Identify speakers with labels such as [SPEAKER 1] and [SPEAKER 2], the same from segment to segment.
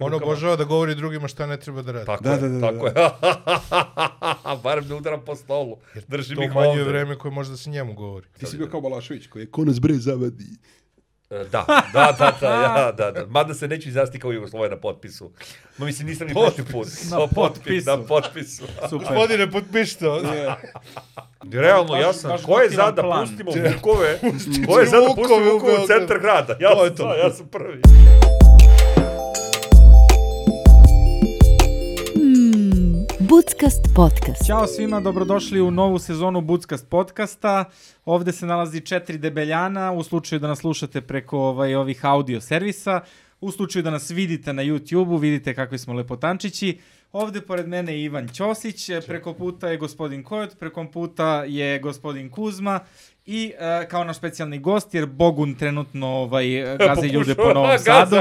[SPEAKER 1] On Ono obožava da govori drugima šta ne treba da radi.
[SPEAKER 2] Tako
[SPEAKER 3] Da,
[SPEAKER 2] je,
[SPEAKER 3] da, da,
[SPEAKER 2] tako
[SPEAKER 3] da.
[SPEAKER 2] je. Barem ne udaram po stolu. Držim ih
[SPEAKER 1] to manje
[SPEAKER 2] ovdje.
[SPEAKER 1] je vreme koje možda se njemu govori.
[SPEAKER 3] Ti si bio kao Balašević koji je konac bre zavadi.
[SPEAKER 2] E, Da, da, da, da, ja, da, da. Mada se neću izjasniti kao Jugoslovija na potpisu. Ma mislim, nisam ni prošli put.
[SPEAKER 4] Na
[SPEAKER 2] O, potpis,
[SPEAKER 4] potpisu.
[SPEAKER 2] Na potpisu.
[SPEAKER 4] Super.
[SPEAKER 1] Gospodine, potpiši to.
[SPEAKER 2] Realno,
[SPEAKER 4] Baš-
[SPEAKER 2] ja sam,
[SPEAKER 4] baš
[SPEAKER 2] ko je za
[SPEAKER 4] blokiran
[SPEAKER 2] da
[SPEAKER 4] plan.
[SPEAKER 2] pustimo Vukove, ko je za da pustimo
[SPEAKER 1] Vukove u
[SPEAKER 2] Vukove u
[SPEAKER 1] Beogradu.
[SPEAKER 2] centar grada? Ja
[SPEAKER 1] To je
[SPEAKER 2] sam,
[SPEAKER 1] to.
[SPEAKER 2] da, ja sam prvi.
[SPEAKER 5] Budskast Hmm, podcast.
[SPEAKER 4] Ćao svima, dobrodošli u novu sezonu Budskast podcasta. Ovde se nalazi četiri debeljana, u slučaju da nas slušate preko ovaj, ovih audio servisa, u slučaju da nas vidite na YouTube-u, vidite kakvi smo lepotančići. Ovde pored mene je Ivan Ćosić, eh, preko puta je gospodin Kojot, preko puta je gospodin Kuzma i e, kao naš specijalni gost, jer Bogun trenutno ovaj, eh, gazi ljude po Novom Sadu. E,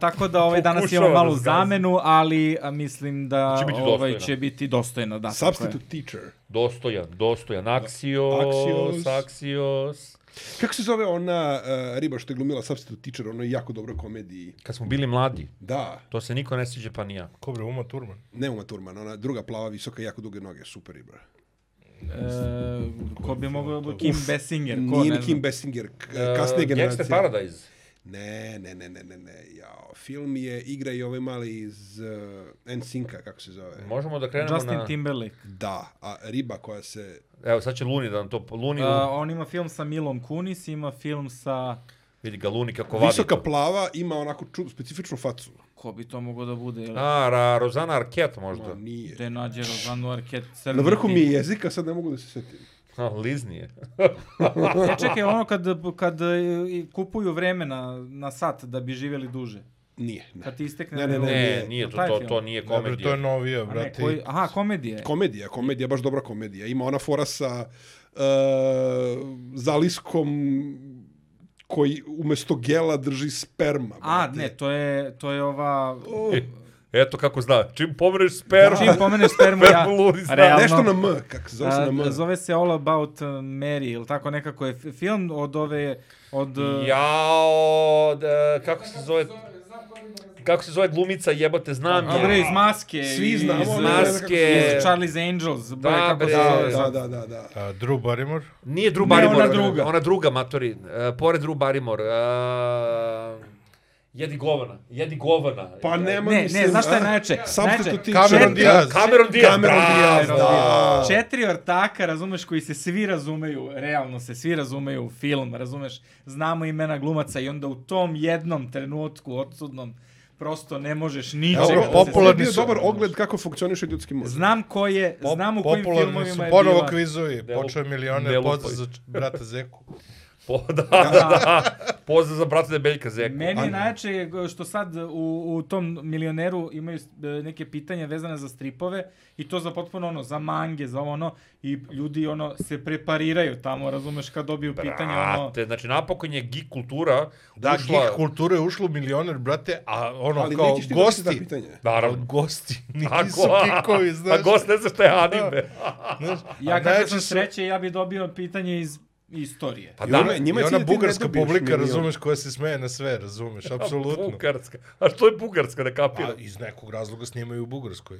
[SPEAKER 4] tako da ovaj danas
[SPEAKER 2] Pokušava
[SPEAKER 4] imamo malu
[SPEAKER 2] nas gazi.
[SPEAKER 4] zamenu, ali a, mislim da
[SPEAKER 2] Znači, Će biti
[SPEAKER 4] ovaj
[SPEAKER 2] dostojna.
[SPEAKER 4] će biti dostojna, da. tako je.
[SPEAKER 3] Substitute teacher.
[SPEAKER 2] Dostojan, dostojan. Aksios,
[SPEAKER 3] Axios.
[SPEAKER 2] Aksios. Aksios.
[SPEAKER 3] Kako se zove ona uh, riba što je glumila Substitute teacher, ono je jako dobro komediji.
[SPEAKER 2] Kad smo bili mladi,
[SPEAKER 3] Da,
[SPEAKER 2] to se niko ne sviđa pa ni ja.
[SPEAKER 1] Ko bre, Uma Turman?
[SPEAKER 3] Neuma Turman, ona druga plava, visoka, jako duge noge, super riba.
[SPEAKER 4] E, ko bi mogao Kim Basinger, ko
[SPEAKER 3] Nije
[SPEAKER 4] ne
[SPEAKER 3] ni
[SPEAKER 4] znam. Uh,
[SPEAKER 3] Kim Basinger, k-
[SPEAKER 2] E,
[SPEAKER 3] kasnije generacije.
[SPEAKER 2] Gangster Paradise.
[SPEAKER 3] Ne, ne, ne, ne, ne, ne, jao. Film je, igra i ovaj mali iz uh, NSYNC-a, kako se zove.
[SPEAKER 2] Možemo da krenemo
[SPEAKER 4] Justin
[SPEAKER 2] na...
[SPEAKER 4] Timberlake.
[SPEAKER 3] Da, a riba koja se...
[SPEAKER 2] Evo, sad će Luni da nam to... Luni,
[SPEAKER 4] Uh,
[SPEAKER 2] uh,
[SPEAKER 4] on ima film sa Milom Kunis, ima film sa
[SPEAKER 2] vidi ga Luni kako vadi.
[SPEAKER 3] Visoka
[SPEAKER 2] to.
[SPEAKER 3] plava ima onako ču, specifičnu facu.
[SPEAKER 4] ko bi to mogao da bude? jel?
[SPEAKER 2] A, ra, Rozana Arquette možda.
[SPEAKER 3] Ma, nije.
[SPEAKER 4] Da je nađe Rozanu Arquette crni.
[SPEAKER 3] Na vrhu mi je
[SPEAKER 4] film.
[SPEAKER 3] jezika, sad ne mogu da se setim.
[SPEAKER 2] Ha, lizni je.
[SPEAKER 4] E, čekaj, ono kad, kad e, i kupuju vreme na, na sat da bi živjeli duže.
[SPEAKER 3] Nije, ne.
[SPEAKER 4] Kad ti istekne...
[SPEAKER 3] Ne, ne,
[SPEAKER 4] vreme.
[SPEAKER 2] Ne,
[SPEAKER 3] nije.
[SPEAKER 2] nije
[SPEAKER 4] Taj
[SPEAKER 2] to, to,
[SPEAKER 4] film.
[SPEAKER 2] to nije
[SPEAKER 1] Dobro, to je
[SPEAKER 2] komedija.
[SPEAKER 1] novija,
[SPEAKER 4] A ne,
[SPEAKER 1] brate.
[SPEAKER 4] koji, aha, komedija je.
[SPEAKER 3] Komedija, komedija, baš dobra komedija. Ima ona fora sa uh, zaliskom koji umjesto gela drži sperma.
[SPEAKER 4] A,
[SPEAKER 3] brate.
[SPEAKER 4] ne, to je, to je ova...
[SPEAKER 2] E, Eto kako zna, čim pomereš spermu,
[SPEAKER 4] Čim pomeneš spermu, ja...
[SPEAKER 2] Spermu ludi zna.
[SPEAKER 4] realno-
[SPEAKER 3] Nešto na M, kako se zove se na
[SPEAKER 4] ono- A,
[SPEAKER 3] M.
[SPEAKER 4] zove se All About uh, Mary, ili tako nekako je f- film od ove, od... uh,
[SPEAKER 2] Jao, da, kako se zove... Kako se zove glumica, jebote, znam
[SPEAKER 4] A bre,
[SPEAKER 2] je.
[SPEAKER 4] iz maske.
[SPEAKER 3] Svi
[SPEAKER 4] iz,
[SPEAKER 3] znamo, ono, ali
[SPEAKER 4] iz, iz-
[SPEAKER 3] ne znam kako se
[SPEAKER 2] Maske.
[SPEAKER 4] Iz Charlie's Angels. Da,
[SPEAKER 2] Da,
[SPEAKER 4] kako
[SPEAKER 2] bre.
[SPEAKER 4] se zove.
[SPEAKER 3] Da, da, da, da.
[SPEAKER 1] A, Drew Barrymore?
[SPEAKER 2] Nije Drew
[SPEAKER 4] Ne, ona
[SPEAKER 2] Barrymore.
[SPEAKER 4] druga.
[SPEAKER 2] Ona druga, matori. E, pored Drew Barrymore. E, jedi govana. Jedi govana.
[SPEAKER 3] Pa nema,
[SPEAKER 4] Ne,
[SPEAKER 3] mislim.
[SPEAKER 4] ne, znaš šta je
[SPEAKER 3] a?
[SPEAKER 4] najjače?
[SPEAKER 3] Substitute
[SPEAKER 4] Najjače,
[SPEAKER 3] teacher.
[SPEAKER 1] Cameron Diaz.
[SPEAKER 2] Cameron Diaz.
[SPEAKER 3] Cameron Diaz,
[SPEAKER 2] bravo.
[SPEAKER 3] da.
[SPEAKER 4] Četiri ortaka, razumeš, koji se svi razumeju, realno se svi razumeju u film, razumeš, znamo imena glumaca i onda u tom jednom trenutku odsudnom prosto ne možeš ničega.
[SPEAKER 1] Dobro,
[SPEAKER 4] da se
[SPEAKER 3] Ovo je
[SPEAKER 1] popularni
[SPEAKER 3] bio
[SPEAKER 1] su-
[SPEAKER 3] dobar ogled kako funkcioniše ljudski mozak.
[SPEAKER 4] Znam ko je,
[SPEAKER 1] Pop-
[SPEAKER 4] znam u kojim
[SPEAKER 1] popularni su
[SPEAKER 4] filmovima je
[SPEAKER 1] ponovo
[SPEAKER 4] bila.
[SPEAKER 1] kvizovi.
[SPEAKER 2] Delu-
[SPEAKER 1] Počeo je milioner
[SPEAKER 2] Delu-
[SPEAKER 1] pozdrav za č- brata Zeku.
[SPEAKER 2] Po, da, da. Pozdrav za brata Debeljka Zeka.
[SPEAKER 4] Meni je najjače što sad u, u tom milioneru imaju e, neke pitanja vezane za stripove i to za potpuno ono, za mange, za ovo ono i ljudi ono se prepariraju tamo, razumeš, kad dobiju pitanje ono...
[SPEAKER 2] Brate, znači napokon je geek kultura
[SPEAKER 1] Da,
[SPEAKER 2] ušla...
[SPEAKER 1] geek Dakle, kultura je ušlo u milioner, brate, a ono
[SPEAKER 3] Ali
[SPEAKER 1] kao
[SPEAKER 3] nećeš ti gosti. da
[SPEAKER 1] gosti.
[SPEAKER 3] pitanje.
[SPEAKER 2] Naravno.
[SPEAKER 1] Gosti,
[SPEAKER 2] A
[SPEAKER 1] nisu
[SPEAKER 2] ko-
[SPEAKER 1] geekovi, znaš.
[SPEAKER 2] A gost ne zna šta je anime.
[SPEAKER 1] Znaš, a
[SPEAKER 4] Ja
[SPEAKER 1] najjače
[SPEAKER 4] kad sam
[SPEAKER 1] su-
[SPEAKER 4] sreće, ja bi dobio pitanje iz istorije.
[SPEAKER 2] Pa
[SPEAKER 3] I
[SPEAKER 2] da,
[SPEAKER 3] ono je- njima
[SPEAKER 1] I
[SPEAKER 3] je
[SPEAKER 1] ona
[SPEAKER 3] cilj da ti ne
[SPEAKER 1] bugarska
[SPEAKER 3] dobiješ
[SPEAKER 1] publika,
[SPEAKER 3] milion.
[SPEAKER 1] razumeš, koja se smeje na sve, razumeš, apsolutno.
[SPEAKER 2] Bugarska. A što je Bugarska, ne
[SPEAKER 1] A
[SPEAKER 2] kapira?
[SPEAKER 1] iz nekog razloga snimaju u Bugarskoj.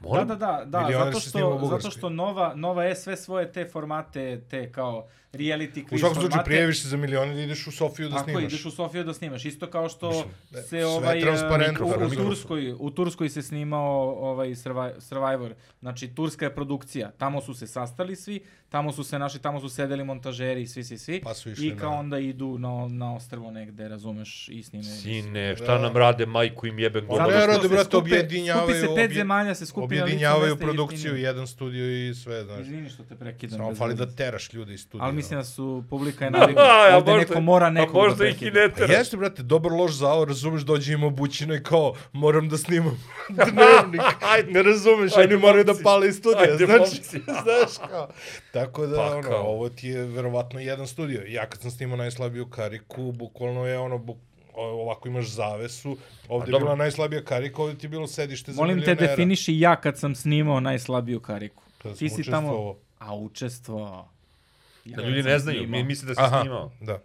[SPEAKER 4] Da, da, da, da,
[SPEAKER 1] Milioner
[SPEAKER 4] zato
[SPEAKER 1] se snima u
[SPEAKER 4] što, zato
[SPEAKER 1] Bugarskoj.
[SPEAKER 4] što Nova, Nova je sve svoje te formate, te kao reality
[SPEAKER 1] U
[SPEAKER 4] quiz
[SPEAKER 1] svakom slučaju
[SPEAKER 4] formate.
[SPEAKER 1] prijaviš se za milione da ideš u Sofiju da
[SPEAKER 4] Tako je,
[SPEAKER 1] snimaš.
[SPEAKER 4] ideš u Sofiju da snimaš. Isto kao što
[SPEAKER 1] da, sve
[SPEAKER 4] se ovaj e,
[SPEAKER 1] transparentno,
[SPEAKER 4] u, u,
[SPEAKER 1] mikrofon.
[SPEAKER 4] Turskoj, u Turskoj se snimao ovaj Survi- Survivor. Znači turska je produkcija. Tamo su se sastali svi, tamo su se naši, tamo su sedeli montažeri, svi svi svi.
[SPEAKER 1] Pa su išli
[SPEAKER 4] I kao
[SPEAKER 1] na-
[SPEAKER 4] onda idu na na ostrvo negde, razumeš, i snimaju.
[SPEAKER 2] Sine, šta nam rade, majku im jebem
[SPEAKER 1] Zato
[SPEAKER 2] govore.
[SPEAKER 1] što-
[SPEAKER 2] Zato
[SPEAKER 1] Narode, brate,
[SPEAKER 4] skupe-
[SPEAKER 1] objedinjavaju-
[SPEAKER 4] Skupi se pet
[SPEAKER 1] obje-
[SPEAKER 4] zemalja, se skupi na licu
[SPEAKER 1] Objedinjavaju
[SPEAKER 4] mesta i
[SPEAKER 1] produkciju,
[SPEAKER 4] snimaju.
[SPEAKER 1] jedan studio i sve, znaš.
[SPEAKER 4] Izvini što te prekidam.
[SPEAKER 1] Samo
[SPEAKER 4] bez
[SPEAKER 1] fali
[SPEAKER 4] veze.
[SPEAKER 1] da teraš ljude iz ono. studija.
[SPEAKER 4] Ali mislim da su publika je
[SPEAKER 2] što...
[SPEAKER 4] navikla. Ovde neko mora nekog
[SPEAKER 2] a
[SPEAKER 4] da
[SPEAKER 2] pa možda ih i
[SPEAKER 4] prekida.
[SPEAKER 2] ne
[SPEAKER 1] A
[SPEAKER 2] tera.
[SPEAKER 1] Pa jeste, brate, dobar loš zao, razumeš, dođe im obućina i kao, moram da snimam dnevnik.
[SPEAKER 2] Ajde.
[SPEAKER 1] ne razumeš,
[SPEAKER 2] Ajde,
[SPEAKER 1] oni moraju da
[SPEAKER 2] momci.
[SPEAKER 1] pale iz studija,
[SPEAKER 2] Ajde,
[SPEAKER 1] znači,
[SPEAKER 2] momci.
[SPEAKER 1] znaš kao. Tako da,
[SPEAKER 2] Pa
[SPEAKER 1] ono,
[SPEAKER 2] kao.
[SPEAKER 1] ovo ti je verovatno jedan studio. Ja kad sam snimao najslabiju kariku, bukvalno je ono, buk, ovako imaš zavesu, ovdje je
[SPEAKER 2] dobro.
[SPEAKER 1] bila najslabija karika, ovdje ti je bilo sedište za
[SPEAKER 4] Molim te,
[SPEAKER 1] milionera.
[SPEAKER 4] definiši ja kad sam snimao najslabiju kariku.
[SPEAKER 1] Kada
[SPEAKER 4] Ti
[SPEAKER 1] sam
[SPEAKER 4] si tamo...
[SPEAKER 1] učestvovao.
[SPEAKER 4] A učestvo... Ja
[SPEAKER 2] Da ljudi
[SPEAKER 4] sam
[SPEAKER 2] ne znaju,
[SPEAKER 4] snimao.
[SPEAKER 2] mi misle da si
[SPEAKER 1] Aha,
[SPEAKER 2] snimao.
[SPEAKER 1] da.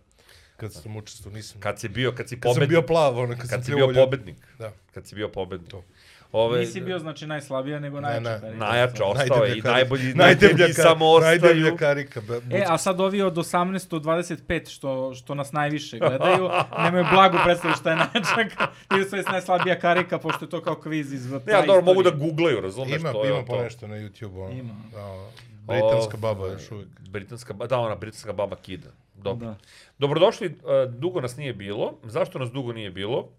[SPEAKER 1] kad sam učestvo, nisam.
[SPEAKER 2] Kad si bio, kad si
[SPEAKER 1] Kad sam
[SPEAKER 2] pobednik.
[SPEAKER 1] bio plav, ono, kad,
[SPEAKER 2] Kad
[SPEAKER 1] sam
[SPEAKER 2] si
[SPEAKER 1] pljuvao
[SPEAKER 2] bio
[SPEAKER 1] ljude.
[SPEAKER 2] pobednik.
[SPEAKER 1] Da.
[SPEAKER 2] Kad si bio pobednik.
[SPEAKER 1] To.
[SPEAKER 2] Ove,
[SPEAKER 4] Nisi bio, znači, najslabija, nego najjača.
[SPEAKER 1] ne.
[SPEAKER 4] karika.
[SPEAKER 2] Najjača, ostao
[SPEAKER 1] Najdeblja
[SPEAKER 2] je i
[SPEAKER 1] karika.
[SPEAKER 2] najbolji, najdeblji
[SPEAKER 1] kar-
[SPEAKER 2] samo ostaju.
[SPEAKER 1] Najdeblja karika. Be,
[SPEAKER 4] E, a sad ovi od 18 do 25 što, što nas najviše gledaju, nemaju blagu predstavu šta je najjačak ili sve najslabija karika, pošto je to kao kviz iz
[SPEAKER 2] Ne, ja dobro, mogu da googlaju, razumeš?
[SPEAKER 1] Ima,
[SPEAKER 2] to je
[SPEAKER 1] ima
[SPEAKER 2] ono
[SPEAKER 1] po
[SPEAKER 2] to.
[SPEAKER 1] nešto na YouTube, ono.
[SPEAKER 4] Ima.
[SPEAKER 1] Da, ono, britanska
[SPEAKER 2] Ov-
[SPEAKER 1] baba još uvijek.
[SPEAKER 2] Britanska, ba- da, ona britanska baba kida. Dobro.
[SPEAKER 4] Da.
[SPEAKER 2] Dobrodošli, e, dugo nas nije bilo. Zašto nas dugo nije bilo?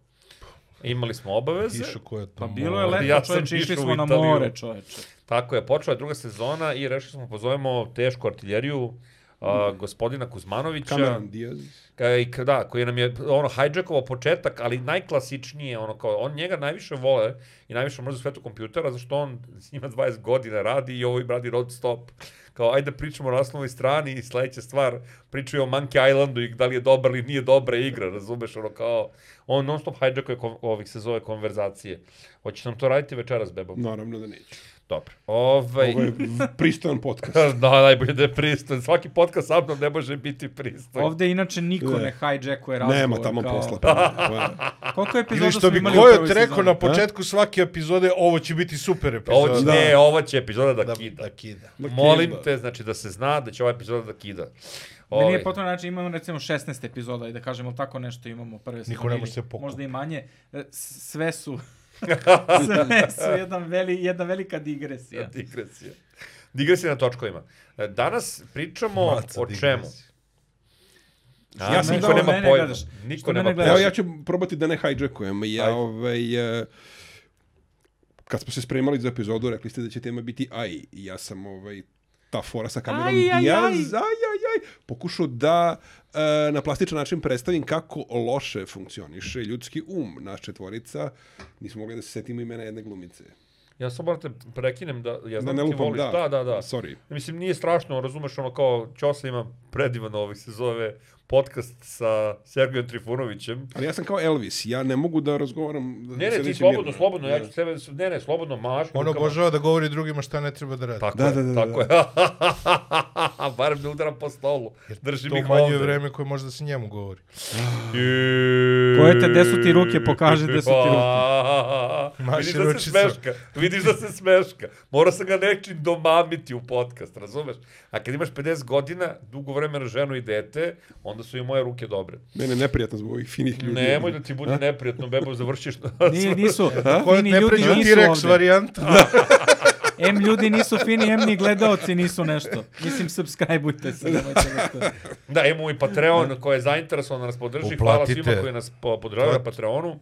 [SPEAKER 2] Imali smo obaveze.
[SPEAKER 1] Kišu koja je
[SPEAKER 4] Pa
[SPEAKER 1] tamo.
[SPEAKER 4] bilo je
[SPEAKER 2] Mora.
[SPEAKER 4] leto,
[SPEAKER 2] Ja
[SPEAKER 4] ja
[SPEAKER 2] sam
[SPEAKER 4] čoveče, išli
[SPEAKER 2] išao u
[SPEAKER 4] smo na
[SPEAKER 2] Italiju.
[SPEAKER 4] more, čoveče.
[SPEAKER 2] Tako je, počela je druga sezona i rešili smo pozovemo tešku artiljeriju a, gospodina Kuzmanovića.
[SPEAKER 3] Cameron Diaz.
[SPEAKER 2] Ka- i ka- da, koji nam je ono hijackovao početak, ali najklasičnije ono kao on njega najviše vole i najviše mrze u svetu kompjutera zato što on s njima 20 godina radi i ovo im radi non stop. Kao ajde pričamo na naslovnoj strani i sledeća stvar pričaju o Monkey Islandu i da li je dobra ili nije dobra igra, razumeš ono kao on non stop hijackuje kon- ovih se zove konverzacije. Hoćeš nam to raditi večeras bebom?
[SPEAKER 3] Naravno da neću.
[SPEAKER 2] Dobro. Ovaj
[SPEAKER 3] Ovo je pristojan podcast.
[SPEAKER 2] da, najbolje da je pristojan. Svaki podcast sa mnom ne može biti pristojan.
[SPEAKER 4] Ovde inače niko
[SPEAKER 3] Ne.
[SPEAKER 4] ne hijackuje razgovor.
[SPEAKER 3] Nema tamo
[SPEAKER 4] kao-
[SPEAKER 3] posla. pa-
[SPEAKER 4] Koliko je epizoda
[SPEAKER 1] Ili što
[SPEAKER 4] smo
[SPEAKER 1] bi
[SPEAKER 4] imali u prvoj
[SPEAKER 1] Kojot rekao
[SPEAKER 4] sezoni?
[SPEAKER 1] na početku svake epizode, ovo će biti super epizoda.
[SPEAKER 2] Ovo će,
[SPEAKER 3] Da.
[SPEAKER 2] ne, ovo će epizoda da,
[SPEAKER 1] da,
[SPEAKER 2] kida.
[SPEAKER 1] da kida.
[SPEAKER 3] Da
[SPEAKER 2] Molim
[SPEAKER 3] kida.
[SPEAKER 2] te, znači da se zna da će ova epizoda da kida.
[SPEAKER 4] Meni
[SPEAKER 2] Ovaj,
[SPEAKER 4] je potrebno, znači imamo recimo 16 epizoda i da kažemo tako nešto imamo prve sezone.
[SPEAKER 1] ne
[SPEAKER 4] ili
[SPEAKER 1] može se pokupi.
[SPEAKER 4] Možda i manje. E, s- Sve su... sve su jedan veli, jedna velika digresija.
[SPEAKER 2] Digresija. Digresija na točkovima. E, Danas pričamo
[SPEAKER 1] Maca
[SPEAKER 2] o
[SPEAKER 1] digresija.
[SPEAKER 2] čemu? A,
[SPEAKER 3] Ja sam
[SPEAKER 2] niko
[SPEAKER 3] dao-
[SPEAKER 2] nema
[SPEAKER 4] mene
[SPEAKER 2] pojma.
[SPEAKER 4] gledaš.
[SPEAKER 2] Niko
[SPEAKER 4] Što
[SPEAKER 2] nema pojma.
[SPEAKER 4] mene gledaš?
[SPEAKER 3] Evo ja ću probati da ne hijackujem. Ja
[SPEAKER 2] Ajde.
[SPEAKER 3] ovaj... eh, Kad smo se spremali za epizodu, rekli ste da će tema biti AI. I Ja sam ovaj ta fora sa kamerom
[SPEAKER 4] Aj, aj,
[SPEAKER 3] Diaz,
[SPEAKER 4] aj.
[SPEAKER 3] aj, aj, aj, pokušao da e, na plastičan način predstavim kako loše funkcioniše ljudski um. Naš četvorica, nismo mogli da se setimo imena jedne glumice.
[SPEAKER 2] Ja samo moram te prekinem da ja
[SPEAKER 3] Da
[SPEAKER 2] znam
[SPEAKER 3] ne
[SPEAKER 2] da ti
[SPEAKER 3] lupam,
[SPEAKER 2] voliš.
[SPEAKER 3] da.
[SPEAKER 2] Da, da, da.
[SPEAKER 3] Sorry.
[SPEAKER 2] Mislim, nije strašno, razumeš, ono kao Ćosla ima predivan ovih se zove podcast sa Sergijom Trifunovićem.
[SPEAKER 3] Ali ja sam kao Elvis, ja ne mogu da razgovaram... da
[SPEAKER 2] Ne,
[SPEAKER 3] se
[SPEAKER 2] ne, ti
[SPEAKER 3] nećem
[SPEAKER 2] slobodno,
[SPEAKER 3] mirno.
[SPEAKER 2] slobodno, ja
[SPEAKER 3] Da.
[SPEAKER 2] ću sebe, ne, ne, slobodno maš.
[SPEAKER 1] On
[SPEAKER 2] rukama.
[SPEAKER 1] obožava da govori drugima šta ne treba da radi.
[SPEAKER 2] Tako
[SPEAKER 3] Da,
[SPEAKER 2] je,
[SPEAKER 3] da, da,
[SPEAKER 2] tako je. Barem ne udaram po stolu. Držim
[SPEAKER 1] To
[SPEAKER 2] ih
[SPEAKER 1] umanjuje
[SPEAKER 2] ovde.
[SPEAKER 1] vreme koje može da se njemu govori.
[SPEAKER 4] Pojete, gde su ti ruke, pokaži gde su ti ruke.
[SPEAKER 2] ruke.
[SPEAKER 1] Maši
[SPEAKER 2] Vidiš da se
[SPEAKER 1] ručicom.
[SPEAKER 2] smeška, vidiš da se smeška. Mora sam ga nečim domamiti u podcast, razumeš? A kad imaš 50 godina, dugo vremena ženu i dete, onda su i moje ruke dobre.
[SPEAKER 3] Mene neprijatno zbog ovih finih ljudi.
[SPEAKER 2] Nemoj da ti bude neprijatno, bebo, završiš na...
[SPEAKER 4] Nije, nisu.
[SPEAKER 1] Kojot
[SPEAKER 4] Fini
[SPEAKER 1] ne
[SPEAKER 4] Pa ljudi
[SPEAKER 1] pređu
[SPEAKER 4] nisu
[SPEAKER 1] T-Rex
[SPEAKER 4] ovde.
[SPEAKER 1] varijanta.
[SPEAKER 4] Em ljudi nisu fini, em ni gledaoci nisu nešto. Mislim, subscribeujte se. nemojte nešto.
[SPEAKER 2] Da, imamo i Patreon koji je zainteresovan da nas podrži. Hvala svima
[SPEAKER 1] Uplatite.
[SPEAKER 2] koji nas po- podržavaju na Patreonu.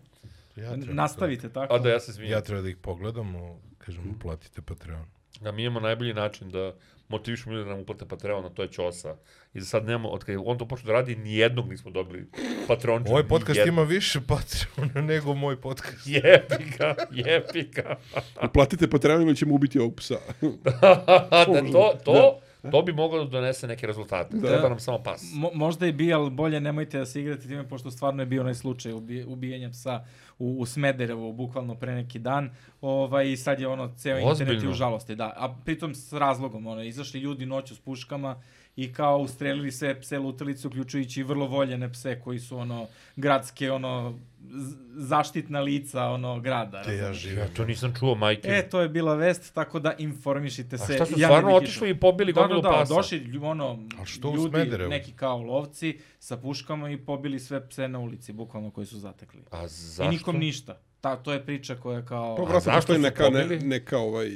[SPEAKER 1] Ja treba
[SPEAKER 4] Nastavite tako.
[SPEAKER 2] A da, ja se
[SPEAKER 1] da-
[SPEAKER 2] izvinjam.
[SPEAKER 1] Ja treba da ih pogledam, o, kažem, uplatite Patreon.
[SPEAKER 2] Da, mi imamo najbolji način da motivišemo ljude da nam uplate Patreon, a to je Ćosa. I za sad nemamo, od kada on to počne da radi, nijednog nismo dobili Patreonča.
[SPEAKER 1] Ovaj podcast
[SPEAKER 2] nijednog.
[SPEAKER 1] ima više Patreona nego moj podcast.
[SPEAKER 2] Jebi ga, jebi ga.
[SPEAKER 3] Uplatite Patreon ili ćemo ubiti ovog psa.
[SPEAKER 2] da, to, to, to bi moglo da donese neke rezultate. Da. Treba nam samo pas.
[SPEAKER 4] Mo, možda je bio, ali bolje nemojte da se igrate time, pošto stvarno je bio onaj slučaj ubije, ubijenja psa u, u Smederevu, bukvalno pre neki dan. Ovaj, I sad je ono, ceo internet je
[SPEAKER 2] Ozbiljno?
[SPEAKER 4] u žalosti, da. A pritom s razlogom, ono, izašli ljudi noću s puškama i kao ustrelili sve pse lutalice, uključujući i vrlo voljene pse koji su ono, gradske, ono, z- zaštitna lica, ono, grada.
[SPEAKER 1] Gde ja
[SPEAKER 4] razumeš?
[SPEAKER 1] živim.
[SPEAKER 2] Ja to nisam čuo, majke.
[SPEAKER 4] E, to je bila vest, tako da informišite
[SPEAKER 2] a
[SPEAKER 4] se.
[SPEAKER 2] šta su
[SPEAKER 4] ja ne
[SPEAKER 2] stvarno
[SPEAKER 4] bih
[SPEAKER 2] otišli
[SPEAKER 4] išao.
[SPEAKER 2] i pobili
[SPEAKER 4] Da, da,
[SPEAKER 2] gomilu
[SPEAKER 4] da,
[SPEAKER 2] pasa?
[SPEAKER 4] došli lju- ono,
[SPEAKER 1] A što u
[SPEAKER 4] ljudi,
[SPEAKER 1] Smederevu?
[SPEAKER 4] neki kao lovci, sa puškama i pobili sve pse na ulici, bukvalno, koji su zatekli.
[SPEAKER 2] A
[SPEAKER 4] I
[SPEAKER 2] zašto?
[SPEAKER 4] nikom ništa. Ta, to je priča koja kao...
[SPEAKER 3] Pa
[SPEAKER 2] zašto
[SPEAKER 3] vratno postoji
[SPEAKER 2] su
[SPEAKER 3] neka, ne,
[SPEAKER 2] pobili?
[SPEAKER 3] neka ovaj...